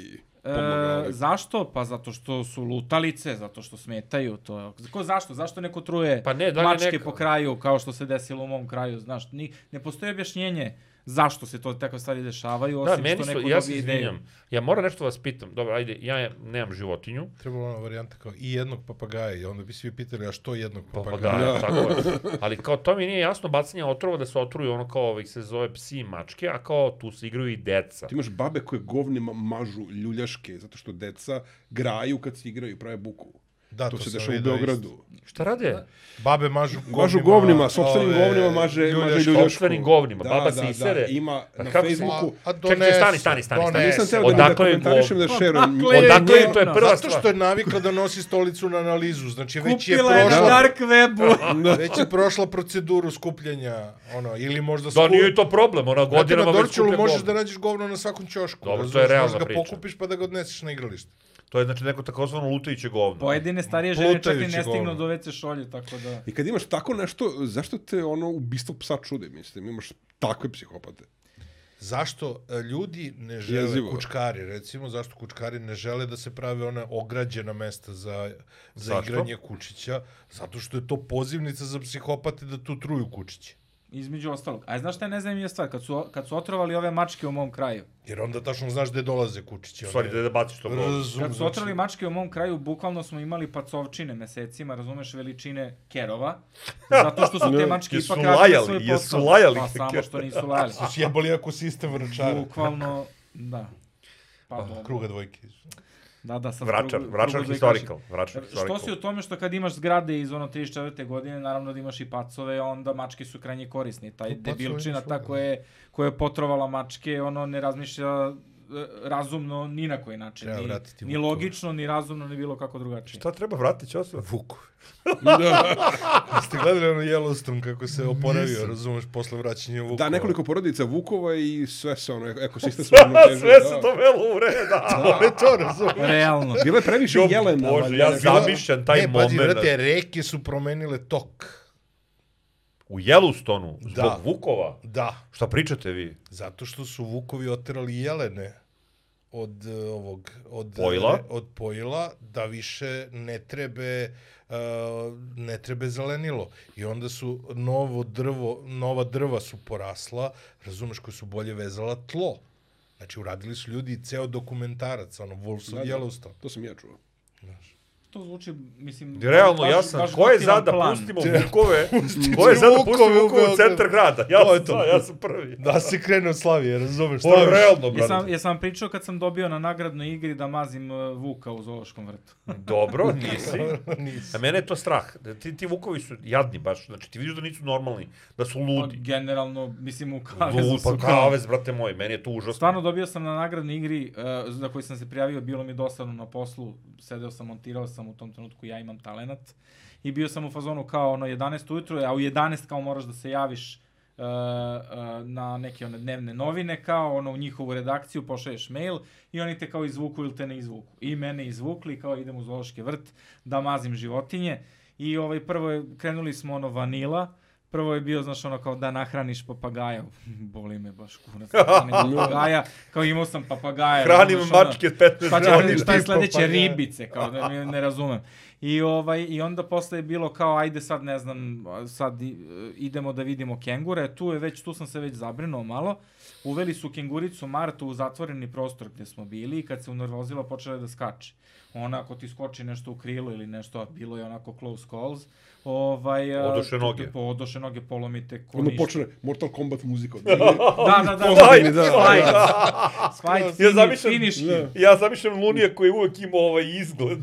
[SPEAKER 3] pomogla,
[SPEAKER 4] E,
[SPEAKER 3] ali-
[SPEAKER 4] zašto? Pa zato što su lutalice, zato što smetaju to. Ko zašto? Zašto neko truje
[SPEAKER 2] Pa ne, da li je
[SPEAKER 4] mačke
[SPEAKER 2] neka-
[SPEAKER 4] po kraju kao što se desilo u mom kraju, znaš? Ni, ne postoji objašnjenje zašto se to takve stvari dešavaju,
[SPEAKER 2] Da,
[SPEAKER 4] osim
[SPEAKER 2] meni
[SPEAKER 4] što
[SPEAKER 2] su,
[SPEAKER 4] neko
[SPEAKER 2] ja se
[SPEAKER 4] dobije ideju.
[SPEAKER 2] izvinjam. Ja moram nešto vas pitam. Dobro, ajde, ja nemam životinju.
[SPEAKER 1] Trebalo ona varijanta kao i jednog papagaja i onda bi svi pitali a što jednog papagaja?
[SPEAKER 2] Papagaja, Pa tako je. Ali kao to mi nije jasno bacanje otrova da se otruju ono kao ovih se zove psi i mačke, a kao tu se igraju i deca.
[SPEAKER 3] Ti imaš babe koje govnima mažu ljuljaške zato što deca graju kad se igraju i prave buku.
[SPEAKER 1] Da,
[SPEAKER 3] to,
[SPEAKER 1] to
[SPEAKER 3] se
[SPEAKER 1] sam
[SPEAKER 3] dešava u
[SPEAKER 1] video isto.
[SPEAKER 3] Beogradu.
[SPEAKER 2] Šta rade?
[SPEAKER 1] Babe mažu govnima.
[SPEAKER 3] Mažu govnima, sopstvenim
[SPEAKER 1] ove,
[SPEAKER 3] govnima maže,
[SPEAKER 1] ljuljašku.
[SPEAKER 3] maže ljuljašku.
[SPEAKER 2] Sopstvenim govnima, baba se isere.
[SPEAKER 3] Da, ima
[SPEAKER 2] Pa
[SPEAKER 3] na
[SPEAKER 2] kako se-
[SPEAKER 3] Facebooku.
[SPEAKER 1] A, a
[SPEAKER 2] Čekaj, čekaj, stani, stani, stani, stani.
[SPEAKER 1] donese.
[SPEAKER 3] Nisam teo da ne
[SPEAKER 2] Odakle je
[SPEAKER 3] komentarišem da
[SPEAKER 2] gov-
[SPEAKER 3] šerujem.
[SPEAKER 4] Odakle je
[SPEAKER 2] Odakle je, to je
[SPEAKER 4] njeno?
[SPEAKER 2] prva
[SPEAKER 1] Zato
[SPEAKER 2] stvar.
[SPEAKER 1] što je navikla da nosi stolicu na analizu, znači već je
[SPEAKER 4] Kupila je na
[SPEAKER 1] prošla,
[SPEAKER 4] dark webu.
[SPEAKER 1] već je prošla proceduru skupljanja, ono, ili možda
[SPEAKER 2] Da,
[SPEAKER 1] skup-
[SPEAKER 2] nije to problem, ona
[SPEAKER 1] Znate,
[SPEAKER 2] godinama
[SPEAKER 1] na
[SPEAKER 2] već
[SPEAKER 1] Dorčulu
[SPEAKER 2] skuplja
[SPEAKER 1] možeš
[SPEAKER 2] govno.
[SPEAKER 1] da nađeš govno na svakom ćošku.
[SPEAKER 2] Dobro, to je
[SPEAKER 1] razumeš,
[SPEAKER 2] realna
[SPEAKER 1] možeš da ga
[SPEAKER 2] priča.
[SPEAKER 1] pokupiš pa da ga odneseš na igralište.
[SPEAKER 2] To je znači neko takozvano lutajuće govno.
[SPEAKER 4] Pojedine starije žene čak i ne
[SPEAKER 1] Plutajući govno.
[SPEAKER 4] stignu do WC šolje, tako da...
[SPEAKER 3] I kad imaš tako nešto, zašto te ono ubistvo psa čude, mislim, imaš takve psihopate.
[SPEAKER 1] Zašto e, ljudi ne žele
[SPEAKER 3] Jezivo.
[SPEAKER 1] kučkari, recimo, zašto kučkari ne žele da se prave ona ograđena mesta za, za
[SPEAKER 2] Zašto?
[SPEAKER 1] igranje kučića? Zato što je to pozivnica za psihopate da tu truju kučiće.
[SPEAKER 4] Između ostalog. A znaš šta je nezanimljiva stvar? Kad su, kad su otrovali ove mačke u mom kraju,
[SPEAKER 1] Jer onda tačno znaš gde dolaze kučići.
[SPEAKER 2] U stvari, da da baciš to govno.
[SPEAKER 1] Razum,
[SPEAKER 4] Kad su otrali mačke u mom kraju, bukvalno smo imali pacovčine mesecima, razumeš, veličine kerova, zato što su te mačke
[SPEAKER 2] Jesu
[SPEAKER 4] ipak radile
[SPEAKER 2] lajali,
[SPEAKER 4] svoj posao.
[SPEAKER 2] jesu lajali
[SPEAKER 4] Pa samo što nisu lajali.
[SPEAKER 1] Su sjebali ekosistem vrčara.
[SPEAKER 4] Bukvalno, da. Pa, dobro.
[SPEAKER 1] Kruga dvojke.
[SPEAKER 4] da, da, sad
[SPEAKER 2] Vračar,
[SPEAKER 4] drugo-
[SPEAKER 2] vračar
[SPEAKER 4] drugo da
[SPEAKER 2] historical.
[SPEAKER 4] kažem.
[SPEAKER 2] Vračar
[SPEAKER 4] Što
[SPEAKER 2] historical.
[SPEAKER 4] si u tome što kad imaš zgrade iz ono 34. godine, naravno da imaš i pacove, onda mačke su krajnje korisni.
[SPEAKER 2] Pa
[SPEAKER 4] Taj
[SPEAKER 1] Pacovi
[SPEAKER 4] debilčina
[SPEAKER 1] su,
[SPEAKER 4] ta
[SPEAKER 1] da.
[SPEAKER 4] koja je, koja je potrovala mačke, ono ne razmišlja e, razumno ni na koji način.
[SPEAKER 1] Treba vratiti
[SPEAKER 4] ni, ni
[SPEAKER 1] vukove.
[SPEAKER 4] logično, ni razumno, ni bilo kako drugačije.
[SPEAKER 2] Šta treba vratiti ćosu?
[SPEAKER 1] Vukove.
[SPEAKER 3] Da.
[SPEAKER 1] Ste gledali ono Yellowstone kako se oporavio, razumeš, posle vraćanja Vukova?
[SPEAKER 3] Da, nekoliko porodica Vukova i sve se ono, ekosistem se
[SPEAKER 2] Da,
[SPEAKER 3] uravnotežio,
[SPEAKER 2] sve
[SPEAKER 3] da.
[SPEAKER 2] se dovelo u reda.
[SPEAKER 1] Da, je to, razumeš.
[SPEAKER 4] Realno.
[SPEAKER 3] Bilo je previše
[SPEAKER 2] Jo,
[SPEAKER 3] jelena.
[SPEAKER 2] Bože,
[SPEAKER 3] valjda,
[SPEAKER 2] ja
[SPEAKER 3] ne, bila-
[SPEAKER 2] zamišljam taj
[SPEAKER 1] ne, E, pazi,
[SPEAKER 2] moment.
[SPEAKER 1] vrate, reke su promenile tok.
[SPEAKER 2] U Yellowstoneu, zbog
[SPEAKER 1] Da.
[SPEAKER 2] Vukova.
[SPEAKER 1] Da.
[SPEAKER 2] Šta pričate vi?
[SPEAKER 1] Zato što su vukovi oterali jelene od e, ovog od
[SPEAKER 2] Pojila?
[SPEAKER 1] e, od pojila da više ne trebe uh, ne trebe zelenilo i onda su novo drvo nova drva su porasla razumeš koji su bolje vezala tlo znači uradili su ljudi ceo dokumentarac ono Wolves
[SPEAKER 3] Da, da.
[SPEAKER 1] of Yellowstone
[SPEAKER 3] To sam i ja čuo.
[SPEAKER 4] To zvuči, mislim...
[SPEAKER 2] Realno,
[SPEAKER 4] baš-
[SPEAKER 2] jasno,
[SPEAKER 4] baš
[SPEAKER 2] ko je za
[SPEAKER 4] protivan
[SPEAKER 2] da
[SPEAKER 4] plan.
[SPEAKER 2] pustimo Vukove, ko je za da
[SPEAKER 1] Vukove
[SPEAKER 2] pustimo
[SPEAKER 1] u
[SPEAKER 2] Vukove u
[SPEAKER 1] Beogradu.
[SPEAKER 2] centar grada? Ja,
[SPEAKER 1] To je
[SPEAKER 2] sam-
[SPEAKER 1] to.
[SPEAKER 2] da, ja sam prvi.
[SPEAKER 1] da se krene od Slavije razumeš
[SPEAKER 2] To je
[SPEAKER 1] Slavija-
[SPEAKER 2] realno,
[SPEAKER 4] Jesam,
[SPEAKER 2] brate.
[SPEAKER 4] jesam vam pričao kad sam dobio na nagradnoj igri da mazim e, Vuka u Zološkom vrtu.
[SPEAKER 2] Dobro, nisi.
[SPEAKER 1] Nisi.
[SPEAKER 2] A mene je to strah. Da Ti, ti vukovi su jadni baš. Znači, ti vidiš da nisu normalni, da su
[SPEAKER 4] Pa,
[SPEAKER 2] ludi.
[SPEAKER 4] Generalno, mislim, u kavezu
[SPEAKER 2] Lud,
[SPEAKER 4] su
[SPEAKER 2] pa kavez, brate moj, meni je to užasno.
[SPEAKER 4] Stvarno dobio sam na nagradnoj igri uh, za koju sam se prijavio, bilo mi dosadno na poslu, sedeo sam, montirao sam u tom trenutku, ja imam talenat. I bio sam u fazonu kao ono 11 ujutro, a u 11 kao moraš da se javiš uh, uh, na neke one dnevne novine, kao ono u njihovu redakciju pošalješ mail i oni te kao izvuku ili te ne izvuku. I mene izvukli, kao idem u zoološki vrt da mazim životinje. I ovaj prvo je, krenuli smo ono vanila, Prvo je bio, znaš, ono kao da nahraniš papagaja. Boli me baš kurac. Hranim papagaja. Kao imao sam papagaja.
[SPEAKER 2] Hranim
[SPEAKER 4] razumeš, ono,
[SPEAKER 2] mačke 15
[SPEAKER 4] Šta, će,
[SPEAKER 2] godina.
[SPEAKER 4] šta je sledeće?
[SPEAKER 1] papagaja.
[SPEAKER 4] Ribice, kao da ne, ne razumem. I, ovaj, I onda posle je bilo kao, ajde sad ne znam, sad i- e, idemo da vidimo kengure. Tu, je već, tu sam se već zabrinuo malo. Uveli su kenguricu Martu u zatvoreni prostor gdje smo bili i kad se unervozila počela je da skače. Ona ako ti skoči nešto u krilo ili nešto, a bilo je onako close calls, ovaj, a,
[SPEAKER 2] Odoše
[SPEAKER 4] tu te
[SPEAKER 2] noge.
[SPEAKER 4] Po, odoše noge polomite ko
[SPEAKER 3] Ono
[SPEAKER 4] ništa.
[SPEAKER 3] počne Mortal Kombat muzika. od-
[SPEAKER 4] Da, da, da.
[SPEAKER 3] Pozadini,
[SPEAKER 4] fight,
[SPEAKER 3] da.
[SPEAKER 4] fight, Fight,
[SPEAKER 2] Ja
[SPEAKER 4] fini-
[SPEAKER 2] zamišljam-
[SPEAKER 4] finish him.
[SPEAKER 3] Da.
[SPEAKER 2] Ja zamišljam Lunija koji uvek ima ovaj izgled.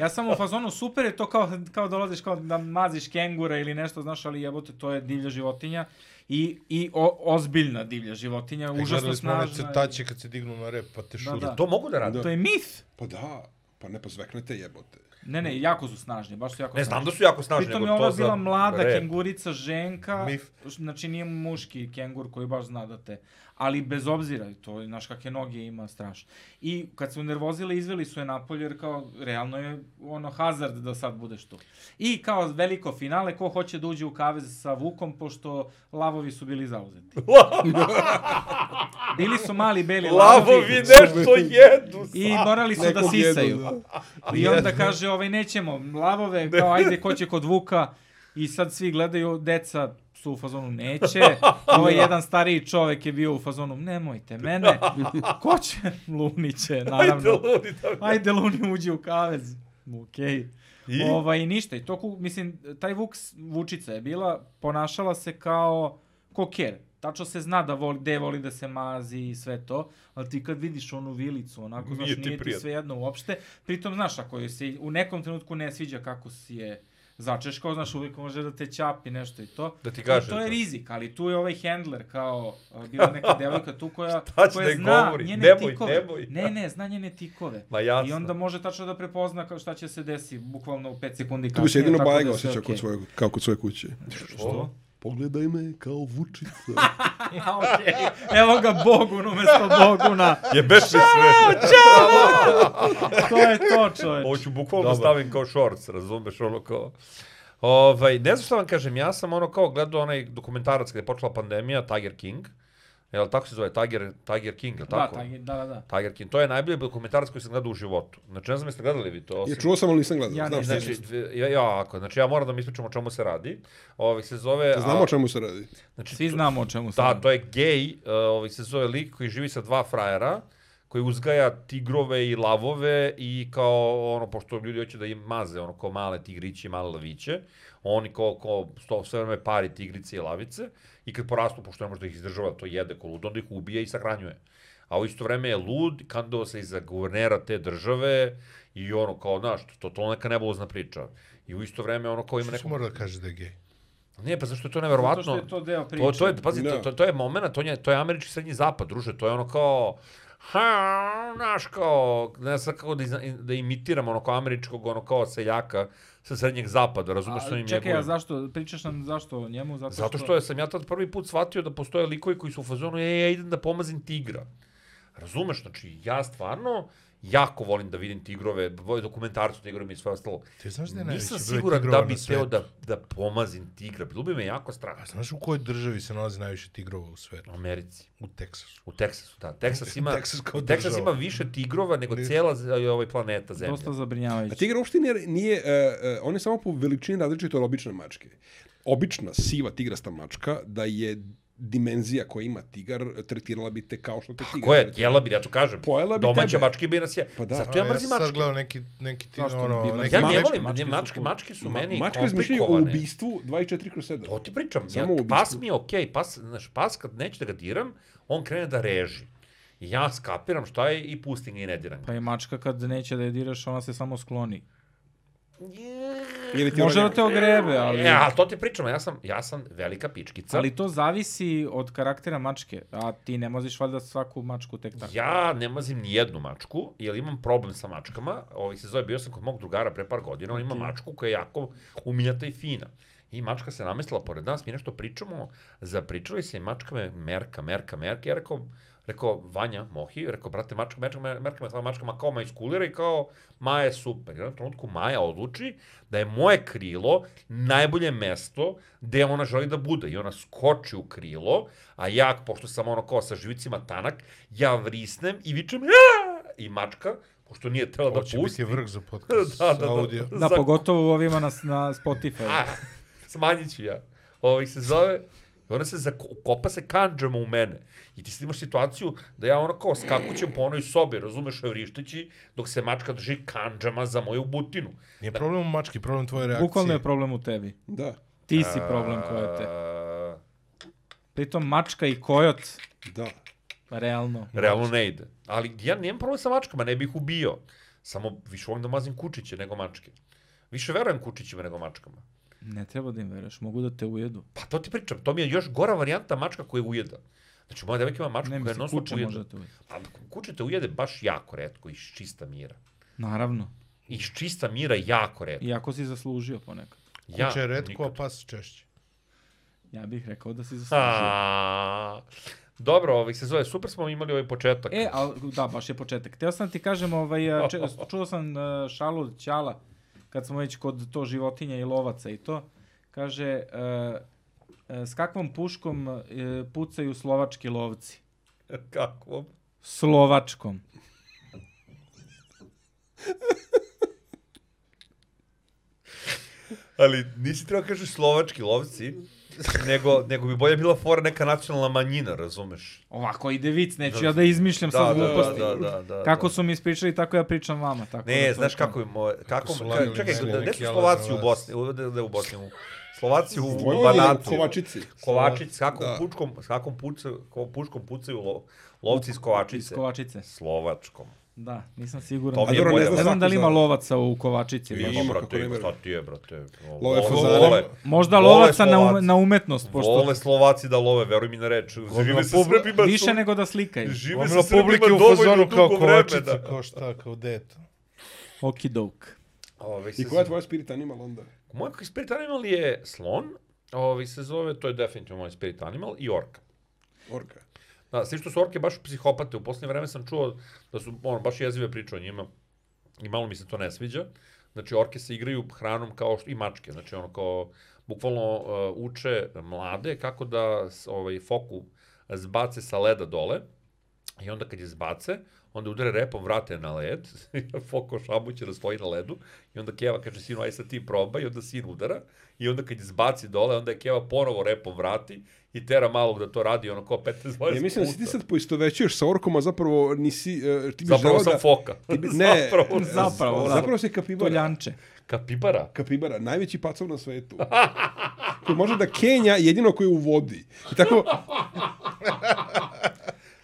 [SPEAKER 4] Ja sam u fazonu, super je to kao, kao dolaziš kao da maziš kengura ili nešto, znaš, ali jebote, to je divlja životinja. I, i o, ozbiljna divlja životinja,
[SPEAKER 1] E,
[SPEAKER 4] užasno
[SPEAKER 1] Gledali smo
[SPEAKER 4] snažna.
[SPEAKER 1] one
[SPEAKER 4] i-
[SPEAKER 1] crtače kad se dignu na rep, pa te šure.
[SPEAKER 4] da.
[SPEAKER 2] To mogu da rade.
[SPEAKER 4] To je mit.
[SPEAKER 3] Pa da, pa ne pa zveknete jebote.
[SPEAKER 4] Ne, ne, jako su snažni, baš su jako
[SPEAKER 2] Ne
[SPEAKER 4] snažni.
[SPEAKER 2] znam da su jako snažni,
[SPEAKER 4] Pritom
[SPEAKER 2] nego
[SPEAKER 4] je
[SPEAKER 2] to
[SPEAKER 4] ova
[SPEAKER 2] za
[SPEAKER 4] bila mlada
[SPEAKER 2] rep.
[SPEAKER 4] kengurica ženka,
[SPEAKER 1] Mif.
[SPEAKER 4] znači nije muški kengur koji baš zna da te, ali bez obzira, to je, znaš kakve noge ima, strašno. I kad su nervozile, izveli su je napolje, jer kao, realno je ono hazard da sad budeš tu. I kao veliko finale, ko hoće da uđe u kavez sa Vukom, pošto lavovi su bili zauzeti. bili su mali beli lavovi.
[SPEAKER 2] Lavovi nešto jedu.
[SPEAKER 4] I morali su da
[SPEAKER 3] Nekog jedu,
[SPEAKER 4] sisaju.
[SPEAKER 3] da.
[SPEAKER 4] I onda kaže, ovaj, nećemo, lavove, kao, ajde, ko će kod Vuka. I sad svi gledaju, deca su u fazonu, neće. Ovaj jedan stariji čovek je bio u fazonu, nemojte mene. Ko će? Luni će,
[SPEAKER 2] Ajde,
[SPEAKER 4] naravno.
[SPEAKER 2] ludi da
[SPEAKER 4] Ajde, Luni uđi u kavez. Okej. Okay.
[SPEAKER 2] I?
[SPEAKER 4] Ovaj, ništa. I to, ku- mislim, taj Vuk, s- Vučica je bila, ponašala se kao koker. Tačno se zna da voli, gde voli da se mazi i sve to, ali ti kad vidiš onu vilicu, onako, znaš,
[SPEAKER 2] Nije ti
[SPEAKER 4] nije ti,
[SPEAKER 2] prijatno.
[SPEAKER 4] sve jedno uopšte. Pritom, znaš, ako joj se u nekom trenutku ne sviđa kako si je začeškao, znaš, uvijek može da te ćapi nešto i to.
[SPEAKER 2] Da ti
[SPEAKER 4] To-
[SPEAKER 2] kaže
[SPEAKER 4] To je
[SPEAKER 2] to.
[SPEAKER 4] rizik, ali tu je ovaj handler kao a, bila neka devojka tu koja,
[SPEAKER 2] Šta će da
[SPEAKER 4] koja
[SPEAKER 2] im
[SPEAKER 4] zna
[SPEAKER 2] govori?
[SPEAKER 4] njene
[SPEAKER 2] Nemoj,
[SPEAKER 4] tikove.
[SPEAKER 2] nemoj.
[SPEAKER 4] Ne, ne, zna njene tikove.
[SPEAKER 2] Ma jasno.
[SPEAKER 4] I onda može tačno da prepozna kao šta će se desiti, bukvalno u 5 sekundi
[SPEAKER 3] Tu
[SPEAKER 4] kasnije.
[SPEAKER 3] bi se jedino
[SPEAKER 4] tako da je
[SPEAKER 3] Bajga
[SPEAKER 4] sve
[SPEAKER 3] osjećao
[SPEAKER 4] okej.
[SPEAKER 3] kod svoje, kao kod svoje kuće.
[SPEAKER 2] Što?
[SPEAKER 3] Pogledaj me kao vučica.
[SPEAKER 4] A, okej. Evo ga Bogun umjesto Boguna.
[SPEAKER 2] Je beše sve.
[SPEAKER 4] To je to, čoveč.
[SPEAKER 2] Hoću bukvalno da
[SPEAKER 1] Dobro.
[SPEAKER 2] stavim kao shorts, razumeš, ono kao... Ovaj, ne znam šta vam kažem, ja sam ono kao gledao onaj dokumentarac kada je počela pandemija, Tiger King. Jel tako se zove? Tiger, Tiger King, jel
[SPEAKER 4] Da,
[SPEAKER 2] tako?
[SPEAKER 4] taj, da, da, da.
[SPEAKER 2] Tiger King. To je najbolji dokumentarac koji sam gledao u životu. Znači, ne znam jeste gledali vi to.
[SPEAKER 3] Je čuo sam, ali nisam gledao.
[SPEAKER 4] Ja
[SPEAKER 3] Znam,
[SPEAKER 4] ne
[SPEAKER 3] šta
[SPEAKER 4] znam.
[SPEAKER 3] je.
[SPEAKER 2] Znači, dve- ja, ja, ako, znači ja moram da mi ispričam o čemu se radi. Ovaj se zove...
[SPEAKER 3] Znamo o čemu se radi.
[SPEAKER 2] znači,
[SPEAKER 4] Svi
[SPEAKER 2] to-
[SPEAKER 4] znamo o čemu se
[SPEAKER 2] Da,
[SPEAKER 4] radi.
[SPEAKER 2] to je gej, uh, ovaj se zove lik koji živi sa dva frajera, koji uzgaja tigrove i lavove i kao ono, pošto ljudi hoće da im maze, ono, kao male tigriće i male laviće, oni kao, kao sto, sve vreme pari tigrice i lavice i kad porastu, pošto ne može da ih izdržava, to jede ko lud, onda ih ubije i sahranjuje. A u isto vreme je lud, kandidovao se i za guvernera te države i ono kao, znaš, to, to neka nebulozna priča. I u isto vreme ono kao ima
[SPEAKER 1] Što se
[SPEAKER 2] neku...
[SPEAKER 1] mora da kaže da je gej?
[SPEAKER 2] Ne, pa zašto je to
[SPEAKER 4] Zato
[SPEAKER 2] neverovatno?
[SPEAKER 4] što je to deo priče.
[SPEAKER 2] To, to je, pazi, to,
[SPEAKER 3] Da.
[SPEAKER 2] to, to je moment, to je, to je američki srednji zapad, druže, to je ono kao, ha, znaš, kao, ne znam kako da, izna- da imitiram ono kao američkog, ono kao seljaka sa srednjeg zapada, razumeš što im
[SPEAKER 4] A,
[SPEAKER 2] je
[SPEAKER 4] čekaj, a
[SPEAKER 2] bolje?
[SPEAKER 4] zašto, pričaš nam zašto o njemu? Zato,
[SPEAKER 2] Zato što je, sam ja tad prvi put shvatio da postoje likovi koji su u fazonu, e, ja idem da pomazim tigra. Razumeš, znači, ja stvarno jako volim da vidim tigrove, volim dokumentarcu tigrove i sve ostalo.
[SPEAKER 1] Ti znaš da je najveći
[SPEAKER 2] Nisam
[SPEAKER 1] broj
[SPEAKER 2] siguran
[SPEAKER 1] tigrova
[SPEAKER 2] da
[SPEAKER 1] na
[SPEAKER 2] bi teo
[SPEAKER 1] svetu?
[SPEAKER 2] da, da pomazim tigra, bilo bi me jako strah.
[SPEAKER 1] A znaš u kojoj državi se nalazi najviše tigrova u svetu?
[SPEAKER 2] U Americi.
[SPEAKER 1] U Teksasu.
[SPEAKER 2] U Teksasu, da. Teksas ima,
[SPEAKER 1] Teksas kao
[SPEAKER 2] Teksas
[SPEAKER 1] država.
[SPEAKER 2] ima više tigrova nego
[SPEAKER 1] Ni-
[SPEAKER 2] cijela z- ovaj planeta Zemlja.
[SPEAKER 4] Dosta
[SPEAKER 3] A
[SPEAKER 4] zabrinjavajuće.
[SPEAKER 3] tigar uopšte nije, nije uh, uh, on je samo po veličini različit od obične mačke. Obična siva tigrasta mačka da je dimenzija koja ima tigar tretirala bi te kao što
[SPEAKER 4] Pa
[SPEAKER 3] te tigar.
[SPEAKER 2] Ko je?
[SPEAKER 3] tretira.
[SPEAKER 2] Jela bi, ja to kažem.
[SPEAKER 3] Pojela bi
[SPEAKER 2] Domaća
[SPEAKER 3] tebe.
[SPEAKER 2] mačka bi nas je.
[SPEAKER 3] Pa da.
[SPEAKER 2] Zato ja
[SPEAKER 1] A,
[SPEAKER 2] mrzim
[SPEAKER 1] Ja
[SPEAKER 2] mačke.
[SPEAKER 1] sad gledao neki, neki ti,
[SPEAKER 4] Zašto bi
[SPEAKER 1] ono,
[SPEAKER 4] mrzim
[SPEAKER 1] neki
[SPEAKER 2] Ja
[SPEAKER 4] mačke?
[SPEAKER 2] ne
[SPEAKER 1] mame-
[SPEAKER 2] volim, mačke,
[SPEAKER 4] su
[SPEAKER 2] mačke,
[SPEAKER 4] cool.
[SPEAKER 2] mačke su meni
[SPEAKER 3] Mačke razmišljaju o
[SPEAKER 2] komplikovane.
[SPEAKER 3] ubistvu 24 kroz 7.
[SPEAKER 2] To ti pričam. Ja,
[SPEAKER 3] Samo o
[SPEAKER 2] pas
[SPEAKER 3] ubistvu.
[SPEAKER 2] mi je okej, pas, znaš, pas kad neću da ga diram, on krene da reži. I ja skapiram šta je i pustim ga i ne diram.
[SPEAKER 4] Pa je mačka kad neće da je diraš, ona se samo skloni.
[SPEAKER 3] Ili ti ovaj-
[SPEAKER 4] Može
[SPEAKER 3] ona-
[SPEAKER 4] da te ogrebe, ali...
[SPEAKER 2] E, a to ti pričam, ja sam, ja sam velika pičkica.
[SPEAKER 4] Ali to zavisi od karaktera mačke, a ti ne moziš valjda svaku mačku tek tako.
[SPEAKER 2] Ja ne mazim ni jednu mačku, jer imam problem sa mačkama. Ovaj se zove, bio sam kod mog drugara pre par godina, on ima mačku koja je jako umiljata i fina. I mačka se namestila pored nas, mi nešto pričamo, zapričali se i mačka me merka, merka, merka. Ja rekao, rekao, Vanja, Mohi, rekao, brate, mačka, mačka, me- merka me tvoja mačka, ma kao ma iskulira i kao, Maja je super. I u jednom trenutku Maja odluči da je moje krilo najbolje mesto gde ona želi da bude. I ona skoči u krilo, a ja, pošto sam ono kao sa živicima tanak, ja vrisnem i vičem, "Aaah!" i mačka, pošto nije tela da
[SPEAKER 1] Ovo će biti
[SPEAKER 2] pusti,
[SPEAKER 1] vrh za podcast.
[SPEAKER 2] Da, da, da.
[SPEAKER 1] Audio.
[SPEAKER 4] Da,
[SPEAKER 2] za-
[SPEAKER 4] pogotovo u ovima na, na Spotify.
[SPEAKER 2] a, smanjit ću ja. Ovo se zove, i ona se zakopa se kanđama u mene. I ti sad imaš situaciju da ja ono kao skakućem po onoj sobi, razumeš, vrišteći, dok se mačka drži kanđama za moju butinu.
[SPEAKER 1] Nije problem u mački, problem tvoje reakcije.
[SPEAKER 4] Bukvalno je problem u tebi.
[SPEAKER 3] Da,
[SPEAKER 4] Ti si problem kojete.
[SPEAKER 2] A,
[SPEAKER 4] Pritom mačka i kojot,
[SPEAKER 3] da.
[SPEAKER 4] realno.
[SPEAKER 2] realno ne ide. Ali ja nemam problem sa mačkama, ne bih ih ubio. Samo više volim da mazim kučiće nego mačke. Više verujem kučićima nego mačkama.
[SPEAKER 4] Ne treba da im veruješ, mogu da te ujedu.
[SPEAKER 2] Pa to ti pričam, to mi je još gora varijanta mačka koja ujeda. Znači, moja devojka ima mačku
[SPEAKER 4] Ne
[SPEAKER 2] koja je
[SPEAKER 4] mislim,
[SPEAKER 2] non stop
[SPEAKER 4] kuće
[SPEAKER 2] ujeda.
[SPEAKER 4] može da te ujedu.
[SPEAKER 2] A kuće te ujede baš jako redko, iz čista mira.
[SPEAKER 4] Naravno,
[SPEAKER 2] Iz čista mira jako redko.
[SPEAKER 4] iako si zaslužio ponekad.
[SPEAKER 2] Ja,
[SPEAKER 1] Kuća je pa- redko, a
[SPEAKER 2] nikad.
[SPEAKER 1] pas češće.
[SPEAKER 4] Ja bih rekao da si zaslužio.
[SPEAKER 2] A, dobro, ovih se zove, super smo imali ovaj početak.
[SPEAKER 4] E, al, da, baš je početak. Teo sam ti kažem, ovaj, a, če, čuo sam e, šalu od Ćala, kad smo već kod to životinja i lovaca i to, kaže, e, e, s kakvom puškom e, pucaju slovački lovci?
[SPEAKER 2] Kako?
[SPEAKER 4] Slovačkom.
[SPEAKER 2] Ali nisi treba kažeš slovački lovci, nego, nego bi bolje bila fora neka nacionalna manjina, razumeš?
[SPEAKER 4] Ovako ide vic, neću ja da izmišljam sad gluposti.
[SPEAKER 2] da, da,
[SPEAKER 4] Kako su mi ispričali, tako ja pričam vama. Tako da
[SPEAKER 2] Ne,
[SPEAKER 4] to je
[SPEAKER 2] znaš
[SPEAKER 4] to.
[SPEAKER 2] kako je moj... Kako,
[SPEAKER 1] su
[SPEAKER 2] ka-
[SPEAKER 1] lavili
[SPEAKER 2] čekaj,
[SPEAKER 1] mene,
[SPEAKER 2] gde- gde
[SPEAKER 1] neki
[SPEAKER 2] su Slovaci u
[SPEAKER 1] Alazanovac.
[SPEAKER 2] Bosni? U- Gde gde u Bosni? U- Slovaci u
[SPEAKER 3] Dvojno
[SPEAKER 2] Banatu.
[SPEAKER 3] Kovačici.
[SPEAKER 2] Kovačić, s kakvom,
[SPEAKER 3] Da.
[SPEAKER 2] pučkom, s kakvom puca, ko, puškom pucaju lo, lovci iz Kovačice.
[SPEAKER 4] Iz Kovačice.
[SPEAKER 2] Slovačkom.
[SPEAKER 4] Da, nisam siguran.
[SPEAKER 2] To mi je A dobro, bolje. ne zna
[SPEAKER 4] ne znam da li ima
[SPEAKER 3] svako za-
[SPEAKER 4] lovaca u Kovačici.
[SPEAKER 2] Ima,
[SPEAKER 4] baš.
[SPEAKER 3] Ima, kako
[SPEAKER 2] brate,
[SPEAKER 3] ne
[SPEAKER 2] ima, šta
[SPEAKER 3] verujem.
[SPEAKER 2] ti je, brate. Lo-
[SPEAKER 3] Love
[SPEAKER 2] lo-
[SPEAKER 3] fazane.
[SPEAKER 2] vole-
[SPEAKER 4] Možda
[SPEAKER 2] vole
[SPEAKER 4] lovaca na,
[SPEAKER 2] Slovaci.
[SPEAKER 4] um, na umetnost, pošto...
[SPEAKER 2] Vole Slovaci da love, veruj mi na reč. Žive se
[SPEAKER 4] pub-
[SPEAKER 2] Srbima
[SPEAKER 4] Više
[SPEAKER 2] su-
[SPEAKER 4] nego da slikaju.
[SPEAKER 2] Žive
[SPEAKER 1] Gomila
[SPEAKER 2] se Srbima
[SPEAKER 1] Ono publike u
[SPEAKER 2] dovoljno
[SPEAKER 1] fazonu kao
[SPEAKER 2] dugo vreme.
[SPEAKER 1] kovačica,
[SPEAKER 2] Da.
[SPEAKER 1] kao šta, kao deta.
[SPEAKER 4] Okidok.
[SPEAKER 2] Ove, se
[SPEAKER 3] I koja je tvoja spirit animal onda?
[SPEAKER 2] Moj spirit animal je slon, ovaj se zove, to je definitivno moj spirit animal, i orka.
[SPEAKER 3] Orka.
[SPEAKER 2] Da, svi što su orke baš psihopate, u posljednje vreme sam čuo da su ono, baš jezive priče o njima i malo mi se to ne sviđa. Znači, orke se igraju hranom kao što, i mačke, znači ono kao, bukvalno uh, uče mlade kako da s- ovaj, foku zbace sa leda dole i onda kad je zbace, onda udare repom, vrate je na led, Foko šabuće da stoji na ledu i onda Keva kaže sinu, aj sad ti probaj i onda sin udara i onda kad je zbaci dole, onda je Keva ponovo repom vrati i tera malog da to radi ono kao 15-20
[SPEAKER 3] Ja E, mislim da si
[SPEAKER 2] puta.
[SPEAKER 3] ti sad poistovećuješ sa orkom, a zapravo nisi... e, ti bi
[SPEAKER 2] Zapravo
[SPEAKER 3] želeo
[SPEAKER 2] sam
[SPEAKER 3] da,
[SPEAKER 2] foka.
[SPEAKER 3] Ti bi, ne,
[SPEAKER 2] Zapravo sam-
[SPEAKER 4] Zapravo, da.
[SPEAKER 3] zapravo si kapibara.
[SPEAKER 4] Toljanče.
[SPEAKER 2] Kapibara.
[SPEAKER 3] Kapibara, najveći pacov na svetu. koji može da Kenja jedino koji je u vodi. I tako,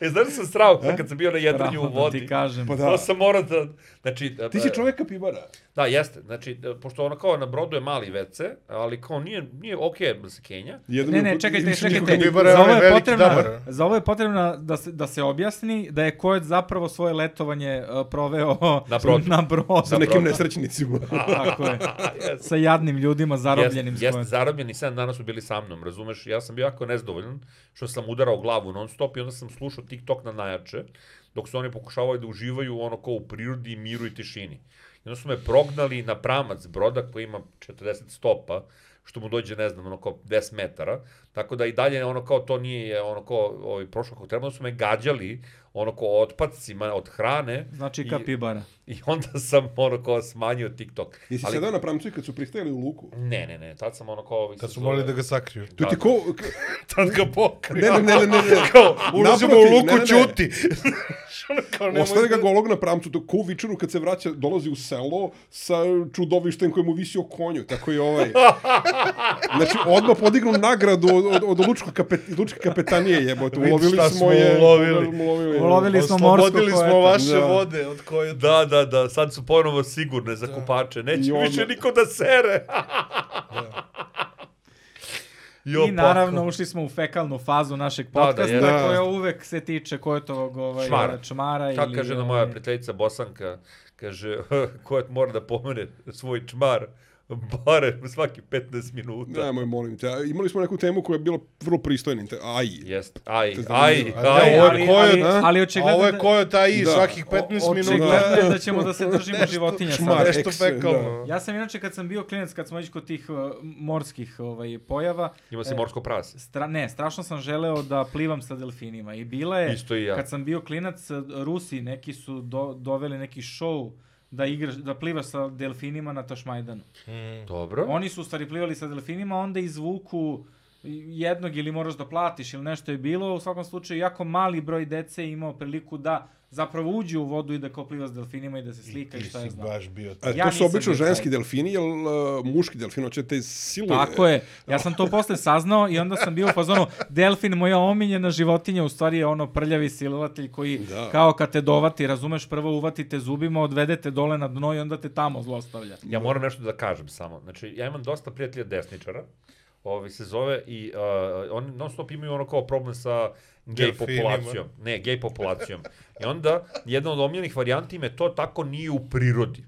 [SPEAKER 2] E, znaš da sam strao kad sam bio na jedranju u
[SPEAKER 4] Pravo da ti
[SPEAKER 2] vodi.
[SPEAKER 4] kažem.
[SPEAKER 3] Pa da.
[SPEAKER 2] To sam morao da... Znači,
[SPEAKER 3] ti si čovjek kapibara.
[SPEAKER 2] Da, jeste. Znači, da, pošto ono kao na brodu je mali WC, ali kao nije, nije okej okay da se Kenja.
[SPEAKER 3] Jedan
[SPEAKER 4] Ne,
[SPEAKER 3] u-
[SPEAKER 4] ne,
[SPEAKER 3] i
[SPEAKER 4] čekajte,
[SPEAKER 3] više niko
[SPEAKER 4] čekajte.
[SPEAKER 3] nije-
[SPEAKER 1] Libera je
[SPEAKER 4] Za ovo
[SPEAKER 1] onaj
[SPEAKER 4] je
[SPEAKER 1] veliki
[SPEAKER 4] potrebna,
[SPEAKER 1] dabar.
[SPEAKER 4] za ovo je potrebna da se, da se objasni da je Kojot zapravo svoje letovanje uh, proveo
[SPEAKER 2] Na brodu.
[SPEAKER 4] Na brodu.
[SPEAKER 3] Sa nekim nesrećnicima.
[SPEAKER 4] Tako je.
[SPEAKER 2] Jeste.
[SPEAKER 4] Sa jadnim ljudima zarobljenim
[SPEAKER 2] Jest,
[SPEAKER 4] s kojom.
[SPEAKER 2] jest, zarobljeni 7 dana su bili sa mnom, razumeš? Ja sam bio jako nezdovoljan što sam udarao glavu non stop i onda sam slušao TikTok na najjače dok su oni pokušavali da uživaju ono kao u prirodi, miru i tišini. I onda su me prognali na pramac broda koji ima 40 stopa, što mu dođe, ne znam, ono kao 10 metara. Tako da i dalje ono kao to nije ono kao ovaj, prošlo kako treba. Onda su me gađali ono kao otpacima od hrane.
[SPEAKER 4] Znači
[SPEAKER 2] I-
[SPEAKER 4] kapibara.
[SPEAKER 2] I onda sam ono kao smanjio TikTok.
[SPEAKER 3] Jesi
[SPEAKER 2] Ali-
[SPEAKER 3] sedao na pramcu i kad su pristajali u luku?
[SPEAKER 2] Ne, ne, ne, tad sam ono kao... ovaj,
[SPEAKER 1] Kad
[SPEAKER 2] se
[SPEAKER 1] su
[SPEAKER 2] zove-
[SPEAKER 1] molili da ga sakriju.
[SPEAKER 3] To ti
[SPEAKER 2] Da.
[SPEAKER 3] ko...
[SPEAKER 1] Tad ga pokrio.
[SPEAKER 3] Ne, ne, ne, ne, ne. ne.
[SPEAKER 1] Kao, ulazimo u
[SPEAKER 3] Naprotiv,
[SPEAKER 1] luku,
[SPEAKER 3] ne, ne, ne.
[SPEAKER 1] ćuti. Ono kao, nemoj
[SPEAKER 3] Ostavi ga
[SPEAKER 1] da-
[SPEAKER 3] golog na pramcu, to ko u vičeru kad se vraća, dolazi u selo sa čudovištem koje mu visi o konju, tako i ovaj. Znači, odmah podignu nagradu od, od, od lučke, kapet, lučke kapetanije jebote.
[SPEAKER 1] Vidi
[SPEAKER 3] Ulovili
[SPEAKER 1] šta
[SPEAKER 3] smo
[SPEAKER 1] smo
[SPEAKER 3] je.
[SPEAKER 1] ulovili.
[SPEAKER 3] Ulovili,
[SPEAKER 4] Ulovili Bili smo
[SPEAKER 1] Oslobodili
[SPEAKER 4] morsko
[SPEAKER 1] smo
[SPEAKER 4] poeta.
[SPEAKER 1] vaše
[SPEAKER 3] Da.
[SPEAKER 1] vode od koje...
[SPEAKER 2] Da, da, da, sad su ponovo sigurne za kopače. Neće
[SPEAKER 3] I ono- onda-
[SPEAKER 2] više niko da sere. Jo,
[SPEAKER 4] I naravno ušli smo u fekalnu fazu našeg
[SPEAKER 2] da,
[SPEAKER 4] podcasta
[SPEAKER 2] jeste.
[SPEAKER 4] koja uvek se tiče Kojotovog ovaj,
[SPEAKER 2] Čmara.
[SPEAKER 4] čmara
[SPEAKER 2] Kako
[SPEAKER 4] ili,
[SPEAKER 2] kaže na
[SPEAKER 4] ovaj,
[SPEAKER 2] moja prijateljica Bosanka, kaže, Kojot mora da pomene svoj čmar barem svaki 15 minuta.
[SPEAKER 3] Nemoj, molim te. A Imali smo neku temu koja je bila vrlo pristojna. te- Aj.
[SPEAKER 2] Jest, aj,
[SPEAKER 3] To je
[SPEAKER 2] aj,
[SPEAKER 3] zanimljivo.
[SPEAKER 1] Da,
[SPEAKER 2] aj,
[SPEAKER 1] ovo je Kojot,
[SPEAKER 2] aj.
[SPEAKER 4] ali, ali,
[SPEAKER 3] a?
[SPEAKER 4] ali
[SPEAKER 1] A
[SPEAKER 4] očigledno
[SPEAKER 1] ovo je
[SPEAKER 4] da-
[SPEAKER 1] Kojota i
[SPEAKER 3] Da.
[SPEAKER 1] svakih 15 minuta.
[SPEAKER 4] Očigledno je da ćemo da se držimo životinja
[SPEAKER 3] čmar.
[SPEAKER 4] sada.
[SPEAKER 1] Nešto
[SPEAKER 3] Ex,
[SPEAKER 1] fekalno.
[SPEAKER 4] Ja sam inače kad sam bio klinac, kad smo ići kod tih uh, morskih ovaj, pojava,
[SPEAKER 2] Ima se
[SPEAKER 4] E,
[SPEAKER 2] morsko prase.
[SPEAKER 4] Stra, ne, strašno sam želeo da plivam sa delfinima i bila je,
[SPEAKER 2] Isto i ja.
[SPEAKER 4] kad sam bio klinac, eh, Rusi neki su do, doveli neki show da igraš, da plivaš sa delfinima na Tašmajdanu.
[SPEAKER 1] Mm,
[SPEAKER 2] Dobro.
[SPEAKER 4] Oni su u stvari plivali sa delfinima, onda izvuku jednog ili moraš da platiš ili nešto je bilo. U svakom slučaju, jako mali broj dece je imao priliku da zapravo uđe u vodu i da kao pliva s delfinima i da se slika i,
[SPEAKER 1] Ti
[SPEAKER 4] šta je
[SPEAKER 1] si
[SPEAKER 4] znam.
[SPEAKER 1] baš bio
[SPEAKER 3] A
[SPEAKER 1] taj.
[SPEAKER 3] to
[SPEAKER 4] Ja
[SPEAKER 3] su
[SPEAKER 4] nisam
[SPEAKER 3] obično
[SPEAKER 4] bio taj.
[SPEAKER 3] ženski delfini, jer uh, muški delfin hoće te siluje.
[SPEAKER 4] Tako je. Ja sam to posle saznao i onda sam bio u fazonu delfin, moja omiljena životinja, u stvari je ono prljavi silovatelj koji
[SPEAKER 3] Da.
[SPEAKER 4] kao kad te dovati, razumeš, prvo uvatite zubima, odvedete dole na dno i onda te tamo zlostavlja.
[SPEAKER 2] Ja moram nešto da kažem samo. Znači, ja imam dosta prijatelja desničara, ovaj se zove, i uh, oni non stop imaju ono kao problem sa gej
[SPEAKER 1] Delfinima.
[SPEAKER 2] populacijom. Ne, gej populacijom. I onda, jedna od omiljenih varijanti im je to tako nije u prirodi.